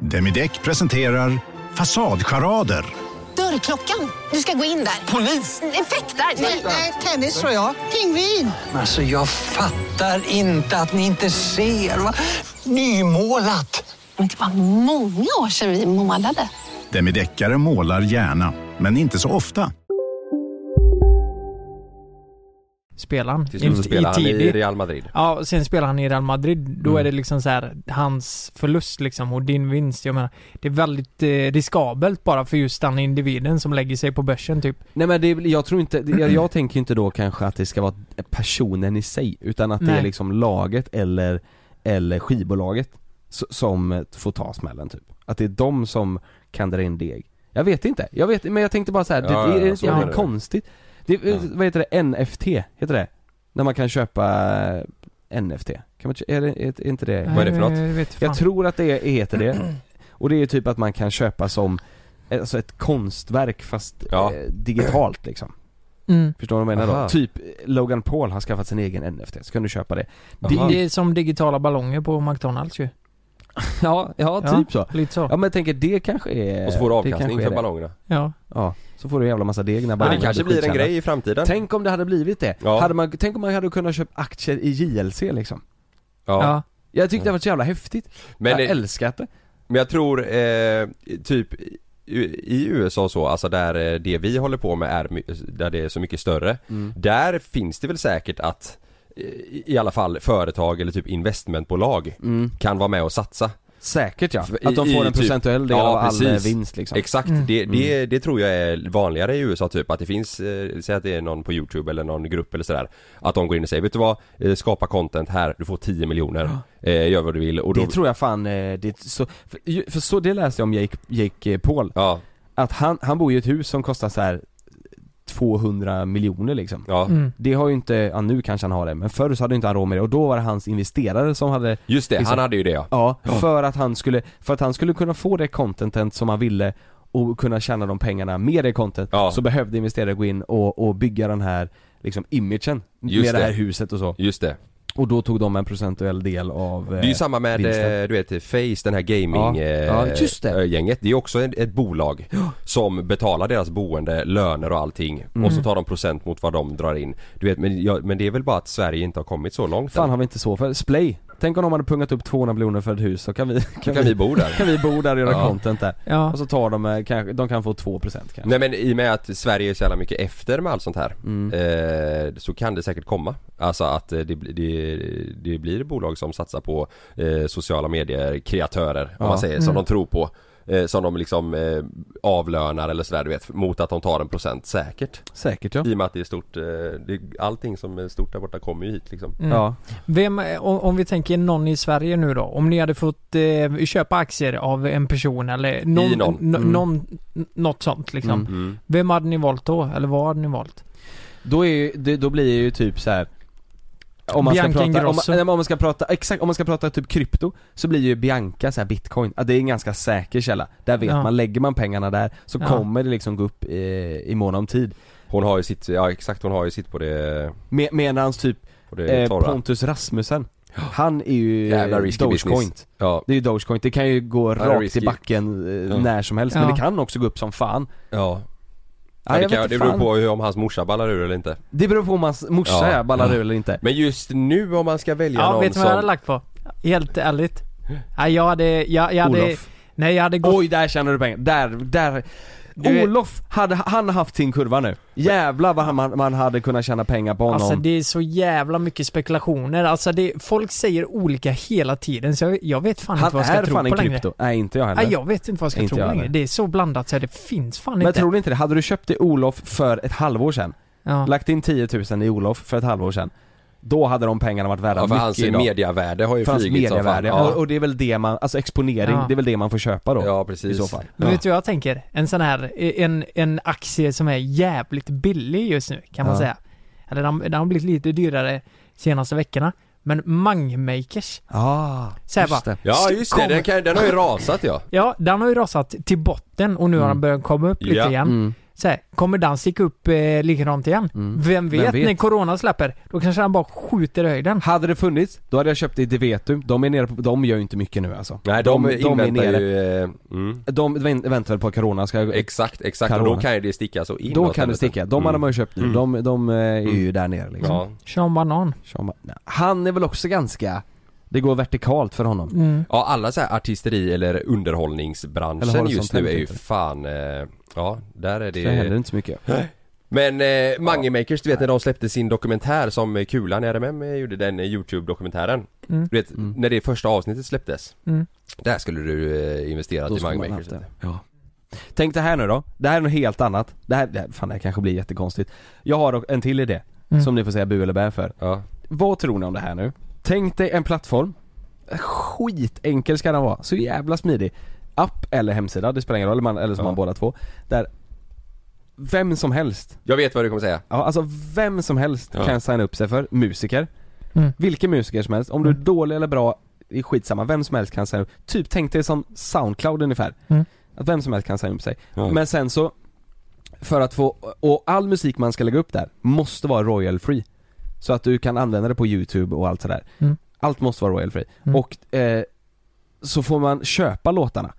I: Demideck presenterar Fasadcharader.
J: Dörrklockan. Du ska gå in där. Polis? Effektar? Nej, nej, tennis tror jag. Pingvin. Alltså, jag fattar inte att ni inte ser. Va? Nymålat. Men det var många år sedan vi målade.
I: Demideckare målar gärna, men inte så ofta.
H: Spelaren.
F: Till slut så spelar han i
H: tidig.
F: Real Madrid. Mm.
H: Ja, sen spelar han i Real Madrid. Då är det liksom så här hans förlust liksom och din vinst. Jag menar, det är väldigt eh, riskabelt bara för just den individen som lägger sig på börsen typ.
G: Nej men det, är- jag tror inte, det- jag, jag tänker inte då kanske att det ska vara personen i sig. Utan att det är
H: Nej.
G: liksom laget eller, eller skivbolaget s- som eh, får ta smällen typ. Att det är de som kan dra in deg. Jag vet inte, jag vet men jag tänkte bara så här, det,
F: Ja,
G: det är
F: ja,
G: inte
F: så
G: jävla
F: är det.
G: konstigt. Det, eh,
F: Ja.
G: Vad heter det? NFT, heter det? När man kan köpa eh, NFT? Kan man, kö- är, det, är inte det?
F: Vad är det för något?
H: Nej, Jag, vet fan.
G: Jag tror att det är, heter det. Och det är typ att man kan köpa som alltså ett konstverk fast
F: Ja.
G: eh, digitalt liksom.
H: Mm.
G: Förstår du vad jag menar
F: Aha.
G: då? Typ eh, Logan Paul har skaffat sin egen NFT, så kan du köpa det.
H: Det,
F: Jaha.
H: det är som digitala ballonger på McDonalds ju.
G: Ja, ja,
H: Ja,
G: typ så.
H: Lite så.
G: Ja men jag tänker det kanske är...
F: Och så får du
G: Eh, det
F: avkastning
G: kanske är
F: för
G: det.
F: ballongerna.
H: Ja.
G: Ja, så får du en jävla massa deg när
F: Men det
G: ballongen
F: kanske blir en
G: skitkända.
F: grej i framtiden.
G: Tänk om det hade blivit det.
F: Ja.
G: Hade man, tänk om man hade kunnat köpa aktier i JLC liksom.
H: Ja.
F: ja.
G: Jag tyckte det var så jävla häftigt.
F: Mm. Men
G: jag
F: det-
G: älskat det.
F: Men jag tror eh, typ i- i USA och så, alltså där eh, det vi håller på med är, my- där det är så mycket större.
G: Mm.
F: Där finns det väl säkert att eh, i alla fall företag eller typ investmentbolag kan vara med och satsa.
G: Säkert Mm. ja.
F: I-
G: Att de får
F: i
G: en
F: typ-
G: procentuell del
F: Ja,
G: av all eh,
F: precis.
G: vinst liksom. Mm.
F: Exakt, det, det, det tror jag är vanligare i USA typ att det finns, eh, säg att det är någon på YouTube eller någon grupp eller sådär Att de går in och säger, vet du vad? Eh, Skapa content här, du får 10 miljoner, eh, gör vad du vill och då
G: Det tror jag fan, eh, det, så, för, ju- för så det läste jag om Jake, Jake eh, Paul.
F: Ja.
G: Att han, han bor i ett hus som kostar så här 200 miljoner liksom.
F: Ja. Mm.
G: Det har ju inte, ja, nu kanske han har det, men förr så hade inte han råd med det och då var det hans investerare som hade
F: Just det,
G: liksom-
F: han hade ju det ja.
G: Ja, för att han skulle, för att han skulle kunna få det contentet som han ville och kunna tjäna de pengarna med det content
F: Ja.
G: så behövde investerare gå in och, och bygga den här liksom imagen
F: Just
G: med det. här
F: det.
G: huset och så.
F: Just det.
G: Och då tog de en procentuell del av
F: Det är ju samma med, eh, du vet, Face, den här gaming
G: Ja.
F: eh,
G: Ja, just det.
F: eh, gänget. Det är också ett, ett bolag som betalar deras boende, löner och allting. Och
G: Mm.
F: så tar de procent mot vad de drar in. Du vet, men, ja, men det är väl bara att Sverige inte har kommit så långt
G: Fan
F: än.
G: har vi inte så för, Splay. Tänk om de hade pungat upp 200 miljoner för ett hus så kan vi,
F: Då kan vi bo där.
G: kan vi bo där och göra
F: Ja.
G: content där.
H: Ja.
G: Och
F: Alltså-
G: så tar de eh, kanske, de kan få 2% kanske.
F: Nej men i och med att Sverige är så jävla mycket efter med allt sånt här
G: Mm.
F: eh, Så kan det säkert komma Alltså att eh, det, bli- det, det blir bolag som satsar på eh, sociala medier kreatörer om
G: Ja.
F: man säger, som
H: Mm.
F: de tror på eh, Som de liksom eh, avlönar eller sådär du vet Mot att de tar en procent säkert
G: Säkert ja.
F: I och med att det är stort eh, det, Allting som är stort där borta kommer ju hit liksom
H: Mm.
G: Ja.
H: Vem, om, om vi tänker någon i Sverige nu då. Om ni hade fått eh, köpa aktier av en person eller någon,
F: I någon.
H: n-
G: Mm.
H: någon n- något sånt liksom.
G: Mm.
F: mm.
H: Vem hade ni valt då? Eller vad hade ni valt?
G: Då, är ju, det, då blir det ju typ så här. Om man, ska
H: Bianca
G: prata, om,
H: Ingrosso.
G: nej, men om man ska prata, exakt, om man ska prata typ krypto Så blir ju Bianca så här bitcoin, att det är en ganska säker källa Där vet
H: Ja.
G: man, lägger man pengarna där så
H: Ja.
G: kommer det liksom gå upp i, i mån om tid
F: Hon har ju sitt, ja exakt hon har ju sitt på det,
G: Me, Medans typ
F: på det
G: eh,
F: torra
G: Pontus Rasmussen Han är ju
F: Jävla risky
G: Dogecoin
F: business. Ja,
G: Det är ju Dogecoin, det kan ju gå
F: det är
G: rakt i
F: risky.
G: backen eh,
F: Ja.
G: när som helst
H: Ja.
G: Men det kan också gå upp som fan
F: ja.
G: Ja,
F: det,
G: jag
F: kan,
G: vet
F: det
G: inte
F: beror
G: fan.
F: på hur, om hans morsa ballar ur eller inte
G: Det beror på om hans morsa
F: Ja.
G: ja. ballar
F: Ja.
G: ur eller inte
F: Men just nu om man ska välja
H: Ja,
F: någon
H: vet ni
F: som...
H: vad jag hade lagt på? Helt ärligt. Nej, jag hade... Jag, jag hade
G: Olof
H: nej, jag hade gått...
G: Oj, där tjänar du pengar. Där, där.
H: Du-
G: Olof, hade, han har haft sin kurva nu. Jävlar vad han, man, man hade kunnat tjäna pengar på honom.
H: Alltså det är så jävla mycket spekulationer. Alltså det, folk säger olika hela tiden så jag, jag vet fan
G: han
H: inte vad jag
G: är
H: ska
G: fan
H: tro
G: en
H: på längre.
G: krypto. Nej, inte jag heller.
H: Nej, jag vet inte vad jag ska
G: Inte
H: tro
G: jag
H: längre.
G: heller.
H: Det är så blandat så det finns fan
G: Men jag
H: inte.
G: tror inte det. Hade du köpt det Olof för ett halvår sedan,
H: ja.
G: lagt in 10 000 i Olof för ett halvår sedan, då hade de pengarna varit värda
F: Ja, för
G: mycket
F: hans
G: idag.
F: mediavärde har ju
G: för hans
F: flugit som fan.
G: mediavärde. Och,
F: Ja.
G: och det är väl det man, alltså exponering,
H: Ja.
G: det är väl det man får köpa då.
F: ja, precis.
G: I så fall.
H: Men
G: Ja.
H: vet du vad jag tänker? En sån här, en, en aktie som är jävligt billig just nu kan man
G: Ja.
H: säga. Eller den, den har blivit lite dyrare senaste veckorna. Men Mangmakers.
G: Ah,
H: Så här
G: just
H: bara.
G: det.
F: Ja, just det.
H: Kom.
F: Den, kan, den har ju rasat ja.
H: Ja, den har ju rasat till botten och nu har den börjat komma upp lite
F: Ja.
H: igen.
G: Mm.
H: Så här, kommer den sticka upp eh, likadant igen? Vem, vet,
G: Vem vet?
H: när corona släpper? Då kanske den bara skjuter i höjden.
G: Hade det funnits, då hade jag köpt det i Devetum. De är nere på, de gör ju inte mycket nu alltså.
F: Nej, de, inväntar ju... eh, Mm.
G: De vänt- väntar väl på att corona ska
F: Exakt, exakt. Och
G: Corona.
F: då kan ju det sticka så inåt.
G: Då kan det
F: helvete. Mm.
G: sticka, de hade man ju köpt nu, de, de eh, är ju där nere liksom.
F: Ja.
H: Sean Banan.
G: Sean Ba- nej. Han är väl också ganska, det går vertikalt för honom.
F: ja, alla så här artisteri eller underhållningsbranschen
G: Eller
F: just nu är ju
G: horisontellt, inte.
F: fan... eh, Ja, där är
G: Det händer
F: det...
G: inte så mycket.
F: Men eh, Mangemakers, du vet när de släppte sin dokumentär som eh, Kulan i RMM eh, gjorde, den eh, Youtube-dokumentären. Du vet,
G: Mm.
F: när det första avsnittet släpptes.
H: Mm.
F: Där skulle du eh, investera
G: Då
F: i
G: skulle man haft
F: Mangemakers.
G: det. Ja. Tänk det här nu då, det här är något helt annat. Det här, det här, fan det här kanske blir jättekonstigt. Jag har dock en till idé, som ni får säga bu eller bä för.
F: Ja.
G: Vad tror ni om det här nu? Tänk dig en plattform Skitenkel ska den vara, så jävla smidig App eller hemsida, det spelar ingen roll, eller, man, eller som
F: Ja.
G: man båda två Där Vem som helst,
F: Jag vet vad du kommer säga.
G: ja, alltså vem som helst
F: Ja.
G: kan signa upp sig för musiker
H: Mm.
G: Vilken musiker som helst, om du är dålig eller bra, det är skitsamma, vem som helst kan signa upp Typ tänk dig som Soundcloud ungefär
H: Mm.
G: Att vem som helst kan signa upp sig
F: Ja.
G: Men sen så För att få, och all musik man ska lägga upp där måste vara royal free Så att du kan använda det på youtube och allt sådär
H: Mm.
G: Allt måste vara royal free
H: Mm.
G: och eh, så får man köpa låtarna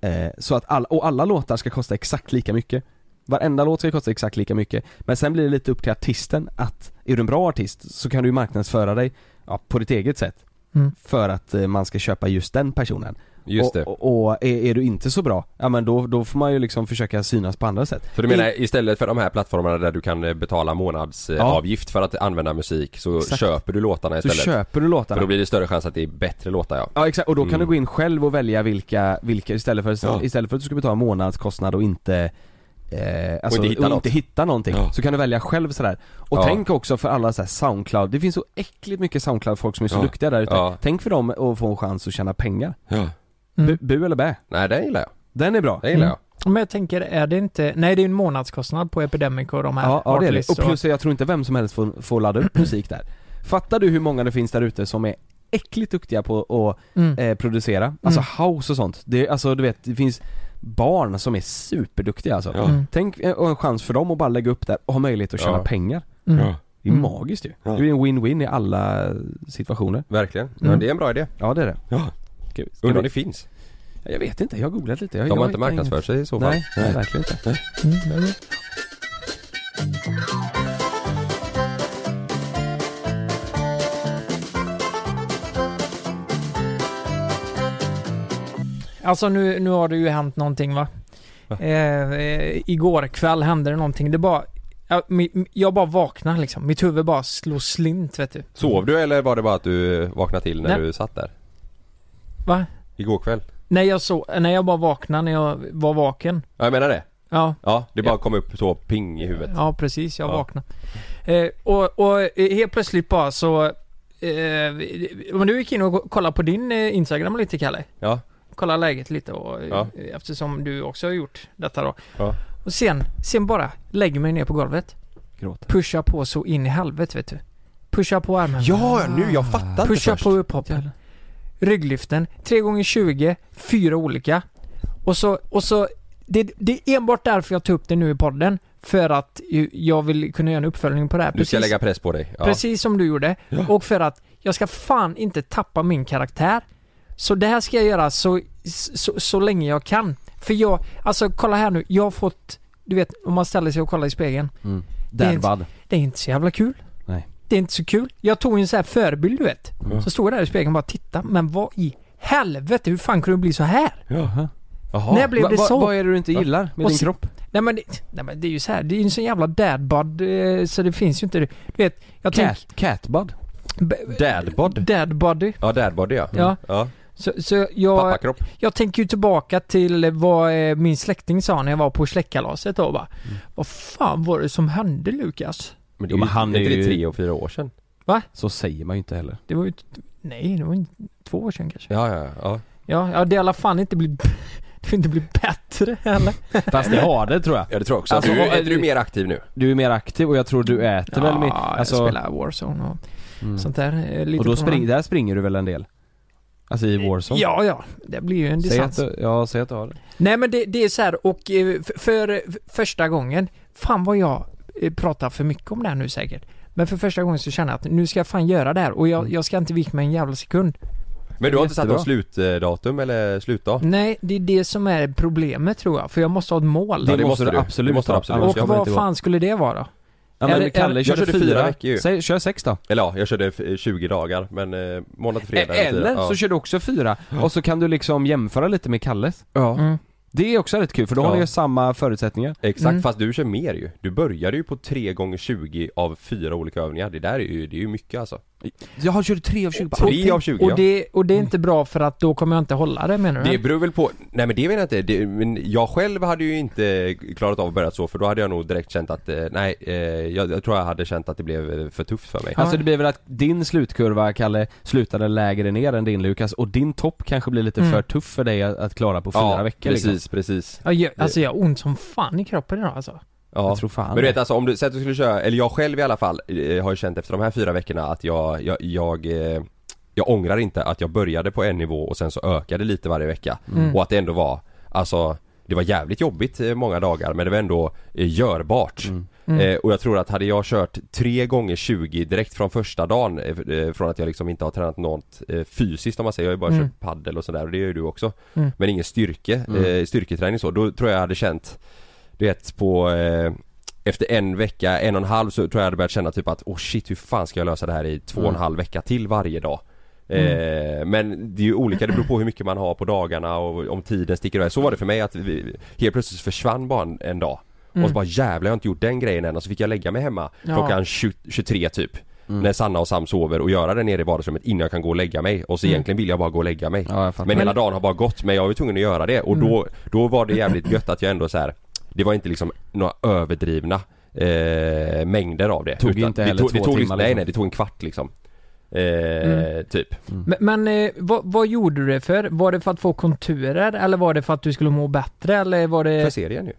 G: eh, Så att alla, och alla låtar ska kosta exakt lika mycket Varenda låt ska kosta exakt lika mycket Men sen blir det lite upp till artisten att Är du en bra artist så kan du ju marknadsföra dig ja, på ditt eget sätt
H: Mm.
G: för att eh, man ska köpa just den personen.
F: Just
G: och,
F: det.
G: Och, och är, är du inte så bra, ja men då, då får man ju liksom försöka synas på andra sätt.
F: Så du menar istället för de här plattformarna där du kan eh, betala månadsavgift för att använda musik så
G: Exakt.
F: köper du låtarna
G: så
F: istället?
G: köper du låtarna.
F: För då blir det större chans att det är bättre låtar ja.
G: Ja exakt, och då kan
F: Mm.
G: du gå in själv och välja vilka, vilka istället för,
F: Ja.
G: istället för att du ska betala månadskostnad och inte Eh, alltså,
F: inte hitta
G: och
F: något.
G: inte hitta någonting.
F: Ja.
G: Så kan du välja själv sådär. Och
F: Ja.
G: tänk också för alla såhär Soundcloud, det finns så äckligt mycket Soundcloud-folk som är så
F: Ja.
G: duktiga där ute.
F: Ja.
G: Tänk för dem att få en chans att tjäna pengar.
F: Ja.
G: Bu, bu eller bä?
F: Nej den gillar jag.
G: Den är bra.
F: Den gillar
H: Mm. Men jag tänker, är det inte... Nej, det är ju en månadskostnad på Epidemic och de här
G: Ja, ja det är det.
H: artlists
G: Och plus jag tror inte vem som helst får, får ladda upp musik där. Fattar du hur många det finns där ute som är äckligt duktiga på att
H: Mm.
G: eh, producera? Alltså house och sånt. Det, är- alltså du vet, det finns barn som är superduktiga alltså.
F: Ja. Mm.
G: Tänk eh, och en chans för dem att bara lägga upp där och ha möjlighet att tjäna
F: Ja.
G: pengar.
F: jag.
H: Mm.
F: Ja.
G: Det är
H: Mm.
G: magiskt ju.
F: Ja.
G: Det blir en win-win i alla situationer.
F: Verkligen. Ja,
H: Mm.
F: det är en bra idé.
G: Ja det är det.
F: Ja.
G: Ska vi- ska
F: Undrar om
G: vi-
F: det finns.
G: Jag vet inte, jag har googlat lite. Jag,
F: De
G: jag
F: har inte
G: hittar inget.
F: marknadsfört sig i så fall.
G: Nej, nej, verkligen inte.
H: Alltså nu, nu har det ju hänt någonting va? Eh, eh, igår kväll hände det någonting. Det bara... Jag, mi- jag bara vaknar liksom. Mitt huvud bara slår slint vet du.
F: Sov du eller var det bara att du eh, vaknade till när
H: Nej.
F: du satt där?
H: Va?
F: Igår kväll?
H: Nej jag så, nej jag bara vaknade när jag var vaken.
F: Ja jag menar det.
H: Ja,
F: Ja, det bara kom upp så ping i huvudet.
H: ja precis. Jag
F: Ja.
H: vaknade. Eh, och, och eh, helt plötsligt bara så... Eh, men du gick in och kollade på din eh, Instagram lite Kalle.
F: Ja.
H: Kolla läget lite och, eh,
F: Ja.
H: eftersom du också har gjort detta då.
F: Ja.
H: Och sen, sen bara lägger mig ner på golvet.
G: Gråter.
H: Pusha på så in i helvete vet du. Pusha på armen.
F: Ja, nu jag fattar inte
H: Pusha
F: först.
H: på upphoppen. Rygglyften. 3 gånger 20 fyra olika. Och så, och så det, det är enbart därför jag tar upp det nu i podden. För att ju- jag vill kunna göra en uppföljning på det här.
F: Du ska lägga press på dig. Ja.
H: Precis som du gjorde. Och för att jag ska fan inte tappa min karaktär. Så det här ska jag göra så, så, så länge jag kan. För jag, alltså kolla här nu. Jag har fått, du vet om man ställer sig och kollar i spegeln. Det är
G: Där
H: inte-
G: bad.
H: Det är inte så jävla kul.
G: Nej.
H: Det är inte så kul. Jag tog en sån här förebild du vet. Så stod jag där i spegeln och bara titta. Men vad i helvete, hur fan kunde det bli så här?
G: Jaha.
H: När blev det
G: Va- va-
H: så?
G: Vad är det du inte gillar med
H: Och
G: din
H: se-
G: kropp?
H: Nej men, det, nej men det är ju så här. det är ju en sån jävla dadbud eh, så det finns ju inte. Du vet, jag tänker...
G: Cat, catbud?
F: Dadbod.
H: Dadbody.
F: Ja, dadbody ja.
H: Ja.
F: ja.
H: Så, så jag,
F: Pappakropp.
H: jag tänker ju tillbaka till vad eh, min släkting sa när jag var på släktkalaset då bara.
G: Mm.
H: Vad fan var det som hände Lukas?
F: Men
G: Jo, men han är
F: inte det
G: ju-
F: tre och fyra år sedan?
G: Så säger man ju inte heller.
H: Det var ju... t- Nej, det var ju två år sedan kanske.
F: Ja, ja, ja.
H: Ja, ja det har i alla fall inte blivit... Det har inte blivit bättre heller.
G: Fast det har det tror jag.
F: Ja, det tror jag också.
G: Alltså,
F: du,
G: vad-
F: är du mer aktiv nu?
G: Du är mer aktiv och jag tror du äter väl mer.
H: Ja,
G: alltså- mm.
H: jag spelar Warzone och sånt där. eh, Lite
G: Och då
H: på
G: spring,
H: morgonen.
G: där springer du väl en del? Alltså i Warzone?
H: Ja, ja. Det blir ju en
G: säg att
H: distans.
G: du, Ja, säg att du har det.
H: Nej men det, det är så här och eh, för, för första gången, fan vad jag eh, pratar för mycket om det här nu säkert. Men för första gången så känner jag att nu ska jag fan göra det här och
G: Mm.
H: jag, jag ska inte vika mig en jävla sekund.
F: Men du har inte satt
G: Jättebra.
F: något slutdatum eller slutdag?
H: Nej, det är det som är problemet tror jag. För jag måste ha ett mål.
F: det måste du. Det måste du
G: ha.
F: absolut.
H: och
G: Annars kommer det
H: vad
G: inte gå.
H: fan skulle det vara då?
G: Ja, men
H: Eller-
G: Kalle
H: eller-
G: körde,
F: Jag körde
G: fyra,
F: fyra veckor ju.
G: Säg, kör sex då.
F: Eller ja, jag körde eh, 20 dagar men eh, måndag till fredag
G: E-
F: fyra.
G: Eller
F: ja.
G: så kör du också fyra och så kan du liksom jämföra lite med Kalles. Ja.
H: Mm.
G: Det är också rätt kul för då har
F: Ja.
G: ni ju samma förutsättningar.
F: Exakt,
H: Mm.
F: fast du kör mer ju. Du började ju på 3 gånger 20 av fyra olika övningar. Det där är ju, det är ju mycket alltså.
G: Jag har kört tre av tjugo.
F: Tre av 20
H: Och
F: ja.
H: det, och det är inte bra för att då kommer jag inte hålla det menar du?
F: Det beror väl på, nej men det vet jag inte, det, men jag själv hade ju inte klarat av att börja så för då hade jag nog direkt känt att, eh, nej, eh, jag, jag tror jag hade känt att det blev eh, för tufft för mig.
G: Alltså det blir väl att din slutkurva, Kalle, slutade lägre ner än din Lukas och din topp kanske blir lite
H: Mm.
G: för tuff för dig att, att klara på fyra veckor
F: precis,
G: Liksom.
F: precis.
H: Ja, jag, alltså jag har ont som fan i kroppen idag alltså.
F: Ja.
G: Jag tror fan
F: Men du vet
G: det.
F: alltså om du, säg att du skulle köra, eller jag själv i alla fall eh, har ju känt efter de här fyra veckorna att jag, jag, jag eh, jag ångrar inte att jag började på en nivå och sen så ökade lite varje vecka
H: Mm.
F: och att det ändå var, alltså det var jävligt jobbigt eh, många dagar men det var ändå eh, görbart.
G: Mm.
F: Eh, och jag tror att hade jag kört tre gånger 20 direkt från första dagen eh, f- eh, från att jag liksom inte har tränat något eh, fysiskt om man säger, jag har ju bara
H: Mm.
F: kört paddel och sådär och det gör ju du också.
H: Mm.
F: Men ingen styrke,
G: Mm.
F: eh, styrketräning så, då tror jag jag hade känt du vet på eh, efter en vecka, en
G: Mm.
F: och en halv så tror jag jag hade börjat känna typ att åh shit hur fan ska jag lösa det här i två och en halv vecka till varje dag? Eh, men det är ju olika, det beror på hur mycket man har på dagarna och om tiden sticker iväg. Så var det för mig att vi, helt plötsligt försvann bara en, en dag.
G: Mm.
F: Och så bara jävlar jag har inte gjort den grejen än och så fick jag lägga mig hemma
G: Ja. Mm.
F: klockan 20, 23 typ. När Sanna och Sam sover och göra det nere i vardagsrummet innan jag kan gå och lägga mig. Och så
G: Mm.
F: egentligen vill jag bara gå och lägga mig. men,
G: Men-
F: hela dagen har bara gått men jag var ju tvungen att göra det och då,
G: Mm.
F: då var det jävligt gött att jag ändå så här. Det var inte liksom några överdrivna eh, mängder av det.
G: Tog
F: Utan
G: inte
F: det
G: heller
F: tog, det
G: två
F: tog,
G: timmar,
F: Nej
G: liksom.
F: nej, det tog en kvart liksom. Eh,
H: Mm.
F: Typ.
H: Men, men eh, vad, vad gjorde du det för? Var det för att få konturer eller var det för att du skulle må bättre eller var det...
F: För serien ju.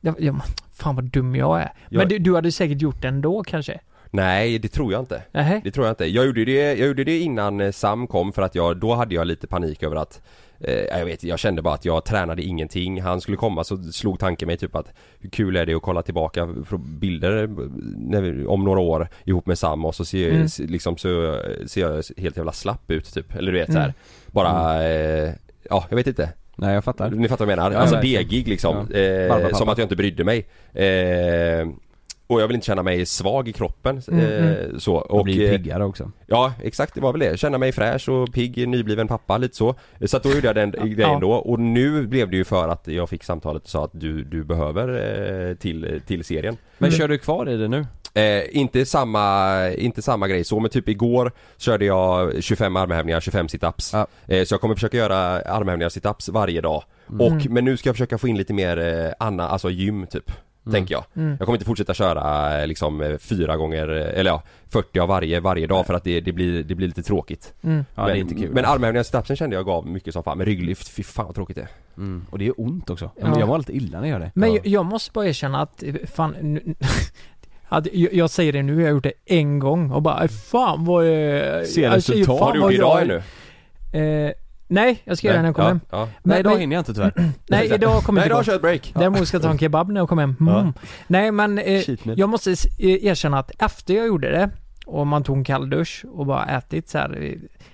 H: Ja, ja, men fan vad dum jag är.
F: Jag-
H: Men du, du hade säkert gjort det ändå kanske?
F: Nej, det tror jag inte.
H: Nähä.
F: Det tror jag inte. Jag gjorde det, jag gjorde det innan eh, Sam kom för att jag, då hade jag lite panik över att eh, jag vet jag kände bara att jag tränade ingenting. Han skulle komma så slog tanken mig typ att hur kul är det att kolla tillbaka på bilder eh, när vi, om några år ihop med Sam och så ser,
G: Mm.
F: se- liksom, så, ser jag helt jävla slapp ut typ. Eller du vet så här.
G: Mm.
F: Bara, eh, ja jag vet inte.
K: Nej jag fattar.
F: Ni fattar vad jag menar?
G: Ja,
F: alltså
G: verkligen.
F: degig liksom.
G: Ja.
F: Eh,
G: Barbapapa.
F: som att jag inte brydde mig. Eh, och jag vill inte känna mig svag i kroppen.
G: Mm,
F: Eh,
G: mm.
F: Så.
G: Och
F: Och,
G: bli
F: eh,
G: piggare också.
F: Ja, exakt det var väl det. Känna mig fräsch och pigg, nybliven pappa lite så. Så att då gjorde jag den grejen då och nu blev det ju för att jag fick samtalet och sa att du, du behöver eh, till, till serien.
K: Men
H: Mm.
K: kör du kvar i det nu?
F: Eh, inte, samma, inte samma grej så men typ igår körde jag 25 armhävningar, 25 situps. Eh, så jag kommer försöka göra armhävningar och situps varje dag.
G: Mm.
F: Och,
G: Mm.
F: men nu ska jag försöka få in lite mer eh, Anna, alltså gym typ. Tänker jag.
G: Mm.
F: Jag kommer inte fortsätta köra eh, liksom eh, fyra gånger, eh, eller ja, 40 av varje, varje dag för att det, det, blir, det blir lite tråkigt.
G: Mm. Ja,
F: men,
G: det är inte kul.
F: Men armhävningar och situpsen kände jag gav mycket som fan, men rygglyft, fy fan vad tråkigt det är.
G: Mm. Och det gör ont också.
H: Ja. men jag mår
G: lite illa när jag gör det.
H: Men jag, jag måste bara erkänna att, eh, fan, nu, att jag, jag säger det nu, jag har gjort det en gång och bara, fan vad... eh,
K: Se
H: alltså,
K: resultat.
H: fan
K: Har du
H: vad
K: gjort det idag
H: jag- Eh, nej, jag ska göra det när jag kommer hem.
K: Nej idag
H: men-
K: hinner jag inte tyvärr.
H: Nej, idag kommer
K: Nej,
H: jag
K: idag
H: inte
K: kör jag
H: gå.
K: ett break.
H: Däremot ska jag ta en kebab när jag kommer hem. Mm.
K: Ja.
H: Nej, men eh,
K: Cheat meal.
H: jag måste s- eh, erkänna att efter jag gjorde det och man tog en kall dusch och bara ätit så här. eh,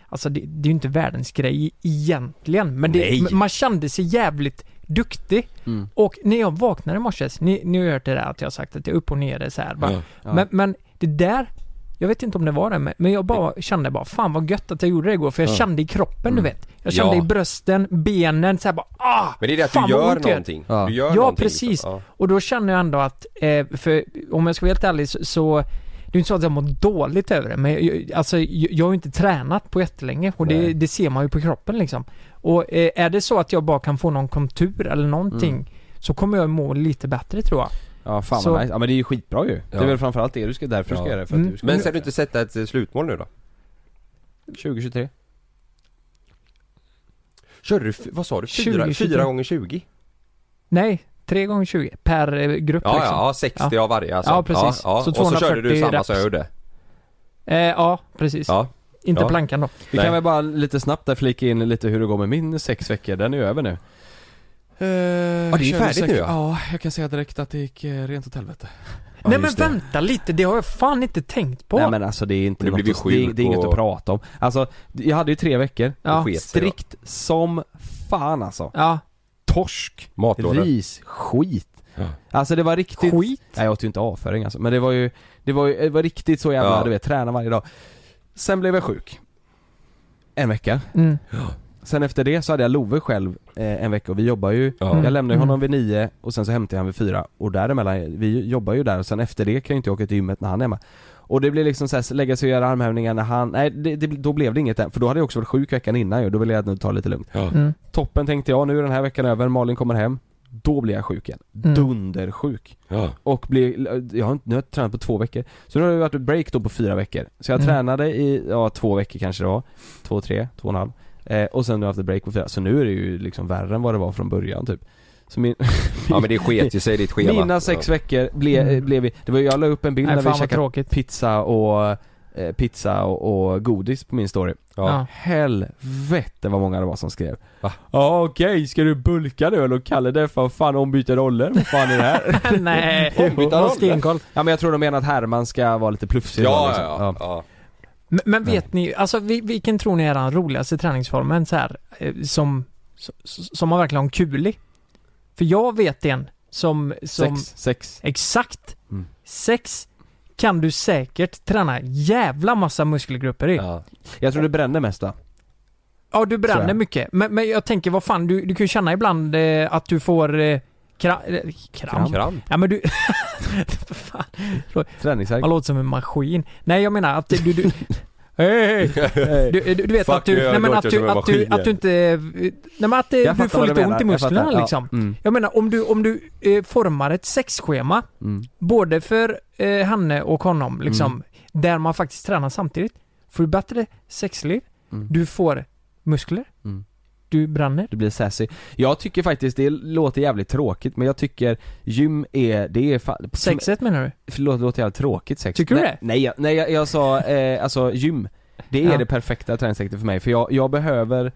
H: Alltså det, det är ju inte världens grej egentligen. Men det,
G: Nej.
H: m- man kände sig jävligt duktig.
G: Mm.
H: Och när jag vaknade i morse, ni, ni har hört det där att jag har sagt att jag är upp och ner så här. Bara,
G: Ja. Ja.
H: Men, men det där, jag vet inte om det var det, men- men jag bara kände bara fan vad gött att jag gjorde det igår. För jag
F: Ja. Mm.
H: kände i kroppen, du vet. Jag
F: Ja.
H: kände i brösten, benen, så här bara ah!
F: Men det är det att
H: Fan,
F: du
H: vad
F: gör
H: ont det gör.
F: någonting. Du gör
H: ja,
F: någonting,
H: precis.
F: liksom. Ja.
H: Och då känner jag ändå att, eh, för om jag ska vara helt ärlig så, så det är inte så att jag mår dåligt över det, men jag- jag, alltså, jag, jag har ju inte tränat på jättelänge och det,
G: Nej.
H: det ser man ju på kroppen liksom. Och eh, är det så att jag bara kan få någon kontur eller någonting
G: Mm.
H: så kommer jag må lite bättre tror jag.
G: Ja fan
H: Så-
G: vad nice. Ja men det är ju skitbra ju. Det är
F: Ja.
G: väl framförallt det du ska, därför du ska
F: Ja.
G: göra det. För
H: Mm.
G: att du ska
F: Men
G: göra
F: ska du inte sätta ett eh, slutmål nu då?
G: det. 2023.
F: Körde du, f- vad sa du, fyra
H: 20,
F: 4 gånger 20?
H: Nej, 3 gånger 20 per eh, grupp
F: Ja,
H: liksom.
F: ja, ja, 60 av varje alltså.
H: Ja, precis.
F: Ja, ja.
H: Så
F: och så körde du
H: 240
F: samma
H: reps.
F: som jag gjorde.
H: Eh, ja, precis.
F: Ja.
H: Inte
F: Ja.
H: plankan då.
F: Vi
K: Vi kan väl bara lite snabbt där flika in lite hur det går med min sex veckor, den är ju över nu.
G: Uh,
K: är ju färdigt nu, ja.
G: Ja, jag kan säga direkt att det gick eh, rent åt helvete.
H: Nej men
G: just det.
H: vänta lite, det har jag fan inte tänkt på.
G: Nej men alltså det är inte
F: Du blev
G: något,
F: ju
G: att- det, är-
F: sjuk
G: det är inget
F: och-
G: att prata om. Alltså, jag hade ju tre veckor.
H: Ja.
G: Det sket sig, Strikt som fan alltså.
H: Ja.
G: Torsk,
F: Matlådor.
G: ris, skit. Alltså det var riktigt... Skit? Nej jag åt ju inte avföring alltså, men det var ju, det var ju, det var riktigt så jävla,
F: Ja.
G: du vet, träna varje dag. Sen blev jag sjuk. En vecka.
H: Mm.
G: Sen efter det så hade jag Love själv eh, en vecka och vi jobbar ju,
H: Ja.
G: jag lämnar ju
H: Mm.
G: honom vid nio och sen så hämtar jag honom vid fyra och däremellan, vi jobbar ju där och sen efter det kan jag ju inte åka till gymmet när han är hemma. Och det blir liksom såhär, lägga sig och göra armhävningar när han, nej det, det, då blev det inget än, för då hade jag också varit sjuk veckan innan ju, då ville jag nu ta det lite lugnt.
H: Mm.
G: Toppen tänkte jag, nu är den här veckan över, Malin kommer hem. Då blir jag sjuk igen.
H: Mm.
G: Dundersjuk. Och blir, jag har inte, nu har jag tränat på två veckor. Så nu har det varit ett break då på fyra veckor. Så jag
H: Mm.
G: tränade i, ja två veckor kanske det var. Två, tre, två och en halv. Eh, och sen nu har jag haft ett break på fyra. Så nu är det ju liksom värre än vad det var från början typ. Så min,
F: Ja men det sket ju sig i ditt schema.
G: mina sex
F: Ja.
G: veckor blev,
H: Mm.
G: blev vi, det var, jag la upp en bild
H: Nej,
G: när
H: fan
G: vi
H: vad
G: käkade
H: tråkigt.
G: pizza och, eh, pizza och, och godis på min story.
H: Ja.
G: Helvete vad många det var som skrev. Ja okej, ska du bulka nu eller Kalle det för fan ombyta roller? Vad fan är det här?
H: Nej,
G: Ombyta
H: vad stenkoll.
G: Ja men jag tror de menar att Herman ska vara lite plufsig
F: Ja,
G: idag,
F: ja, ja, ja.
H: Men, men vet ni, alltså vi- vilken tror ni är den roligaste träningsformen så här, eh, som, som, som man verkligen har en kul i? För jag vet en som, som
G: Sex, sex.
H: exakt
G: Mm.
H: sex kan du säkert träna jävla massa muskelgrupper i. Ja.
G: Jag tror du bränner mest va?
H: Ja, du
G: Tror
H: bränner
G: jag.
H: mycket. Men, men jag tänker, vad fan, du, du kan ju känna ibland eh, att du får eh, kra- eh, kramp.
G: Kramp.
H: Ja, men du...
G: Träningsvärk.
H: Man låter som en maskin. Nej, jag menar att du... du Hej! Du, du, du vet
G: Fuck,
H: att du,
G: jag
H: nej, men
G: låter
H: att
G: som
H: du,
G: en
H: att du,
G: maskin
H: att du
G: igen.
H: inte, eh, nej men att eh,
G: Jag
H: du
G: fattar
H: får
G: vad du
H: lite ont
G: menar,
H: i
G: jag
H: musklerna
G: fattar. Ja,
H: liksom.
G: mm.
H: Jag menar om du, om du eh, formar ett sexschema,
G: Mm.
H: både för eh, Hanne och honom liksom,
G: Mm.
H: där man faktiskt tränar samtidigt, får du bättre sexliv,
G: Mm.
H: du får muskler,
G: Mm.
H: du bränner.
G: Du blir sassy. Jag tycker faktiskt, det låter jävligt tråkigt men jag tycker gym är, det är fa-
H: Sexet menar du?
G: Förlåt, det låter jävligt tråkigt sex.
H: Tycker du
G: nej,
H: det?
G: Nej, jag, nej jag, jag sa, eh, alltså gym. Det är
H: Ja.
G: det perfekta träningssättet för mig för jag, jag behöver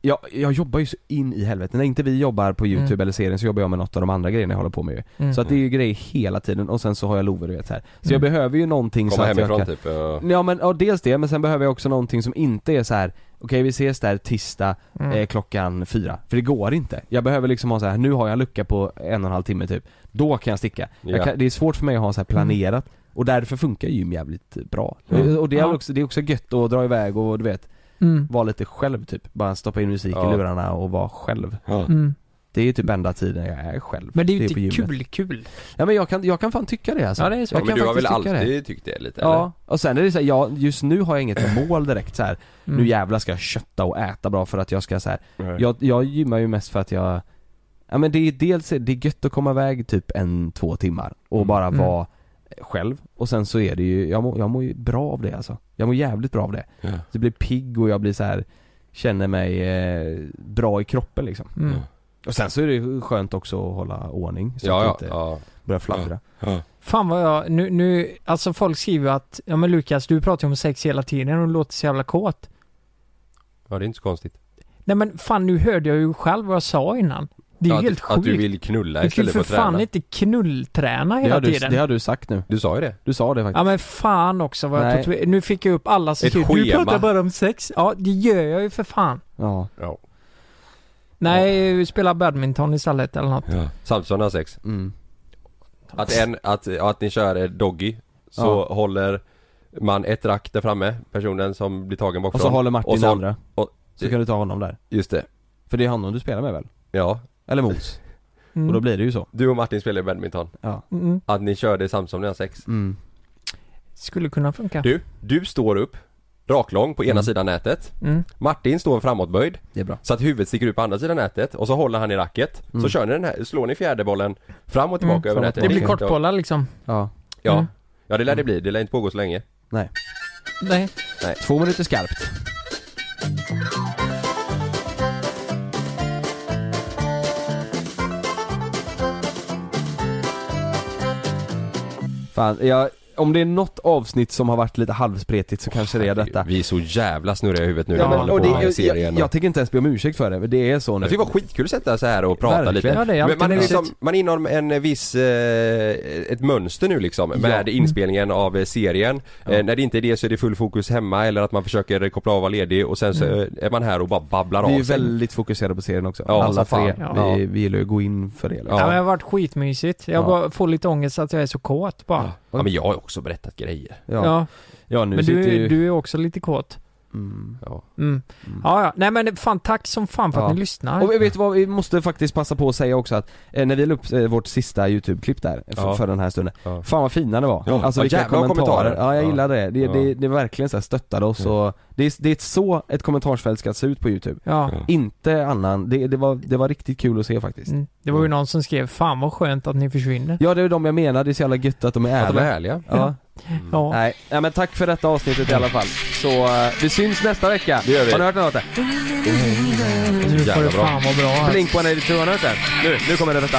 G: jag, jag jobbar ju så in i helvete, när inte vi jobbar på youtube
H: Mm.
G: eller serien så jobbar jag med något av de andra grejerna jag håller på med ju.
H: Mm.
G: Så att det är ju grejer hela tiden och sen så har jag Love du vet så här. Så jag
H: Mm.
G: behöver ju någonting så
F: Komma
G: att jag
F: hemifrån
G: kan...
F: typ. Ja.
G: Ja men ja, dels det, men sen behöver jag också någonting som inte är så här. okej vi ses där tisdag
H: Mm.
G: eh, klockan fyra. För det går inte. Jag behöver liksom ha så här. nu har jag en lucka på en och en halv timme typ. Då kan jag sticka.
F: Ja.
G: Jag kan, det är svårt för mig att ha så här planerat. Och därför funkar gym jävligt eh, bra.
H: Mm.
G: Och det är,
H: Ja.
G: också, det är också gött att dra iväg och du vet,
H: Mm.
G: vara lite själv typ. Bara stoppa in musik
F: Ja.
G: i lurarna och vara själv.
H: Mm.
G: Det är ju typ enda tiden jag är själv.
H: Men det är ju inte
G: på gymmet.
H: kul kul.
G: Ja men jag kan, jag kan fan tycka det alltså.
H: Ja, det är så.
G: Jag
F: Ja,
G: kan
F: men du har väl
G: faktiskt tycka det.
F: alltid tyckt det lite
G: Ja, och sen är det så här, ja, just nu har jag inget mål direkt så här.
H: Mm.
G: nu jävlar ska jag kötta och äta bra för att jag ska så här.
F: eller?
G: Jag, jag gymmar ju mest för att jag Ja men det är dels, det är gött att komma iväg typ en, två timmar och bara
H: Mm.
G: vara själv och sen så är det ju, jag mår, jag mår ju bra av det alltså. Jag mår jävligt bra av det.
F: Ja.
G: Jag blir pigg och jag blir så här känner mig eh, bra i kroppen liksom.
H: Mm.
G: Och sen så är det ju skönt också att hålla ordning så
F: Ja,
G: att jag
F: ja,
G: inte
F: ja.
G: börjar fladdra.
F: ja.
H: Fan vad jag, nu, nu, alltså folk skriver ju att, ja men Lukas du pratar ju om sex hela tiden och låter så jävla kåt.
F: Ja, det är inte så konstigt.
H: Nej men fan nu hörde jag ju själv vad jag sa innan. Det
F: Ja,
H: är ju
F: att,
H: helt
F: att
H: sjukt.
F: du vill knulla
H: Du kan ju
F: istället för
H: för
F: att träna.
H: fan inte knullträna
G: Det
H: hela
G: har, du,
H: tiden.
G: det har du sagt nu.
F: Du sa ju det.
G: Du sa det faktiskt.
H: Ja men fan också vad jag
G: Nej.
H: tatuer- Nu fick jag upp alla som
F: Ett
H: skriver, du
F: schema.
H: pratar bara om sex. Ja det gör jag ju för fan.
G: Ja.
F: Ja.
H: Nej, spela badminton istället eller något.
F: Ja. Samtidigt som ni har sex.
G: Mm.
F: Att, en, att, att ni kör eh, doggy, så
G: Ja.
F: håller man ett rack där framme, personen som blir tagen
G: Och
F: bakifrån.
G: så håller Martin
F: och så,
G: andra.
F: och-
G: så kan du ta honom där.
F: Just det.
G: För det är honom du spelar med väl?
F: Ja.
G: Eller mot?
H: Mm.
G: Och då blir det ju så.
F: Du och Martin spelar ju badminton.
G: Ja.
H: Mm.
F: Att ni kör det samtidigt som ni har sex.
G: Mm.
H: Skulle kunna funka.
F: Du, du står upp, raklång på ena
G: Mm.
F: sidan nätet.
H: Mm.
F: Martin står framåtböjd.
G: Det är bra.
F: Så att huvudet sticker ut på andra sidan nätet och så håller han i racket. Så
G: Mm.
F: kör ni den här, slår ni fjärdebollen fram och tillbaka
G: Mm.
F: över
G: Fram och
F: nätet.
H: Det blir
G: Ja.
H: kortbollar liksom.
G: Ja.
F: Ja.
H: Mm.
F: Ja det lär det bli, det lär inte pågå så länge.
G: Nej.
H: Nej.
G: Två minuter skarpt. Fan, jag, om det är något avsnitt som har varit lite halvspretigt så kanske det är detta.
F: Vi är så jävla snurriga i huvudet nu
G: Ja,
F: när vi
G: men, och
F: håller
G: det,
F: på med
G: jag,
F: serien.
G: jag,
F: och-
G: jag tänker inte ens be om ursäkt för det, men det är så nu.
F: Jag tycker det var skitkul att sätta sig här och prata
G: Verkligen.
F: lite.
H: Ja, det är alltid
F: Men man, är
H: mysigt.
F: liksom, man är inom en viss, eh, ett mönster nu liksom med
H: Mm.
F: inspelningen av eh, serien. Eh, när det inte är det så är det full fokus hemma eller att man försöker koppla av och vara ledig och sen så
H: Mm.
F: eh, är man här och bara babblar
G: Vi är
F: av sig.
G: väldigt fokuserade på serien också.
F: Ja,
G: Alla
F: som fan.
G: tre.
H: Ja.
G: Vi, vi gillar ju att gå in för det. liksom.
H: Ja. men
F: Ja.
H: det har varit skitmysigt. Jag
G: Ja.
H: bara får lite ångest att jag är så kåt bara.
F: Ja men jag har också berättat grejer.
G: Ja.
H: Ja.
G: Ja. nu
H: Men
G: sitter
H: du,
G: ju...
H: du är också lite kåt.
G: Mm.
F: Ja.
H: Mm. Ja, ja. Nej men fan tack som fan för att
G: Ja.
H: ni lyssnar.
G: Och vi- vet du vad, vi måste faktiskt passa på att säga också att eh, när vi la upp eh, vårt sista YouTube-klipp där eh, för,
F: Ja.
G: för den här stunden,
F: Ja.
G: fan vad fina det var.
F: Ja.
G: Alltså
F: Ja,
G: vilka
F: jävlar vad
G: kommentarer.
F: kommentarer.
G: Ja jag
F: Ja.
G: gillar det. Det,
F: Ja.
G: det, det är verkligen så här stöttade oss och det är, det är så ett kommentarsfält ska se ut på YouTube.
H: Ja.
G: Inte annan, det, det, var, det var riktigt kul att se faktiskt.
H: Mm. Det var ju någon som skrev 'Fan vad skönt att ni försvinner'
G: Ja det är de jag menar, det är så jävla gött att de är
F: Att de
G: ärliga.
F: är härliga.
G: Ja.
H: Ja.
G: Mm. Nej. Nej men tack för detta avsnittet i alla fall. Så eh, vi syns nästa vecka.
F: Det gör vi.
G: Har ni hört den låten?
H: Nu får det
F: jävla bra.
H: fan vara bra alltså.
G: Blink på en har ni hört den? Nu, nu kommer den rätta.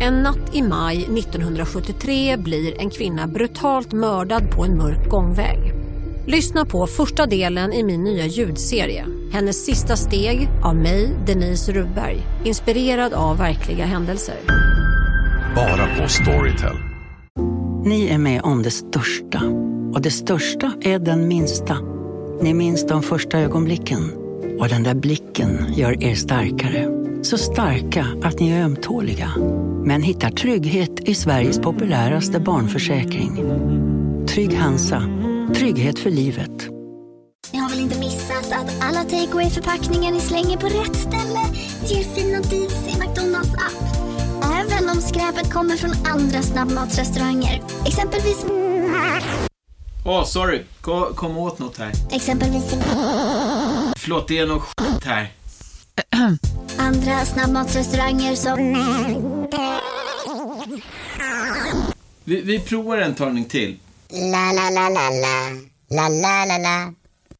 L: En natt i maj 1973 blir en kvinna brutalt mördad på en mörk gångväg. Lyssna på första delen i min nya ljudserie. Hennes sista steg av mig, Denise Rubberg. Inspirerad av verkliga händelser.
M: Bara på Storytel.
N: Ni är med om det största. Och det största är den minsta. Ni minns de första ögonblicken. Och den där blicken gör er starkare. Så starka att ni är ömtåliga. Men hittar trygghet i Sveriges populäraste barnförsäkring. Trygg Hansa. Trygghet för livet.
O: Ni har väl inte missat att alla takeaway förpackningar ni slänger på rätt ställe ger fina deals i McDonalds app. Även om skräpet kommer från andra snabbmatsrestauranger. Exempelvis...
P: Åh, sorry. Kom, kom åt något här.
O: Exempelvis...
P: Förlåt, det är något skit här.
O: Andra snabbmatsrestauranger som...
P: Vi, vi provar en talning till.
O: La, la, la, la, la. La, la, la, la.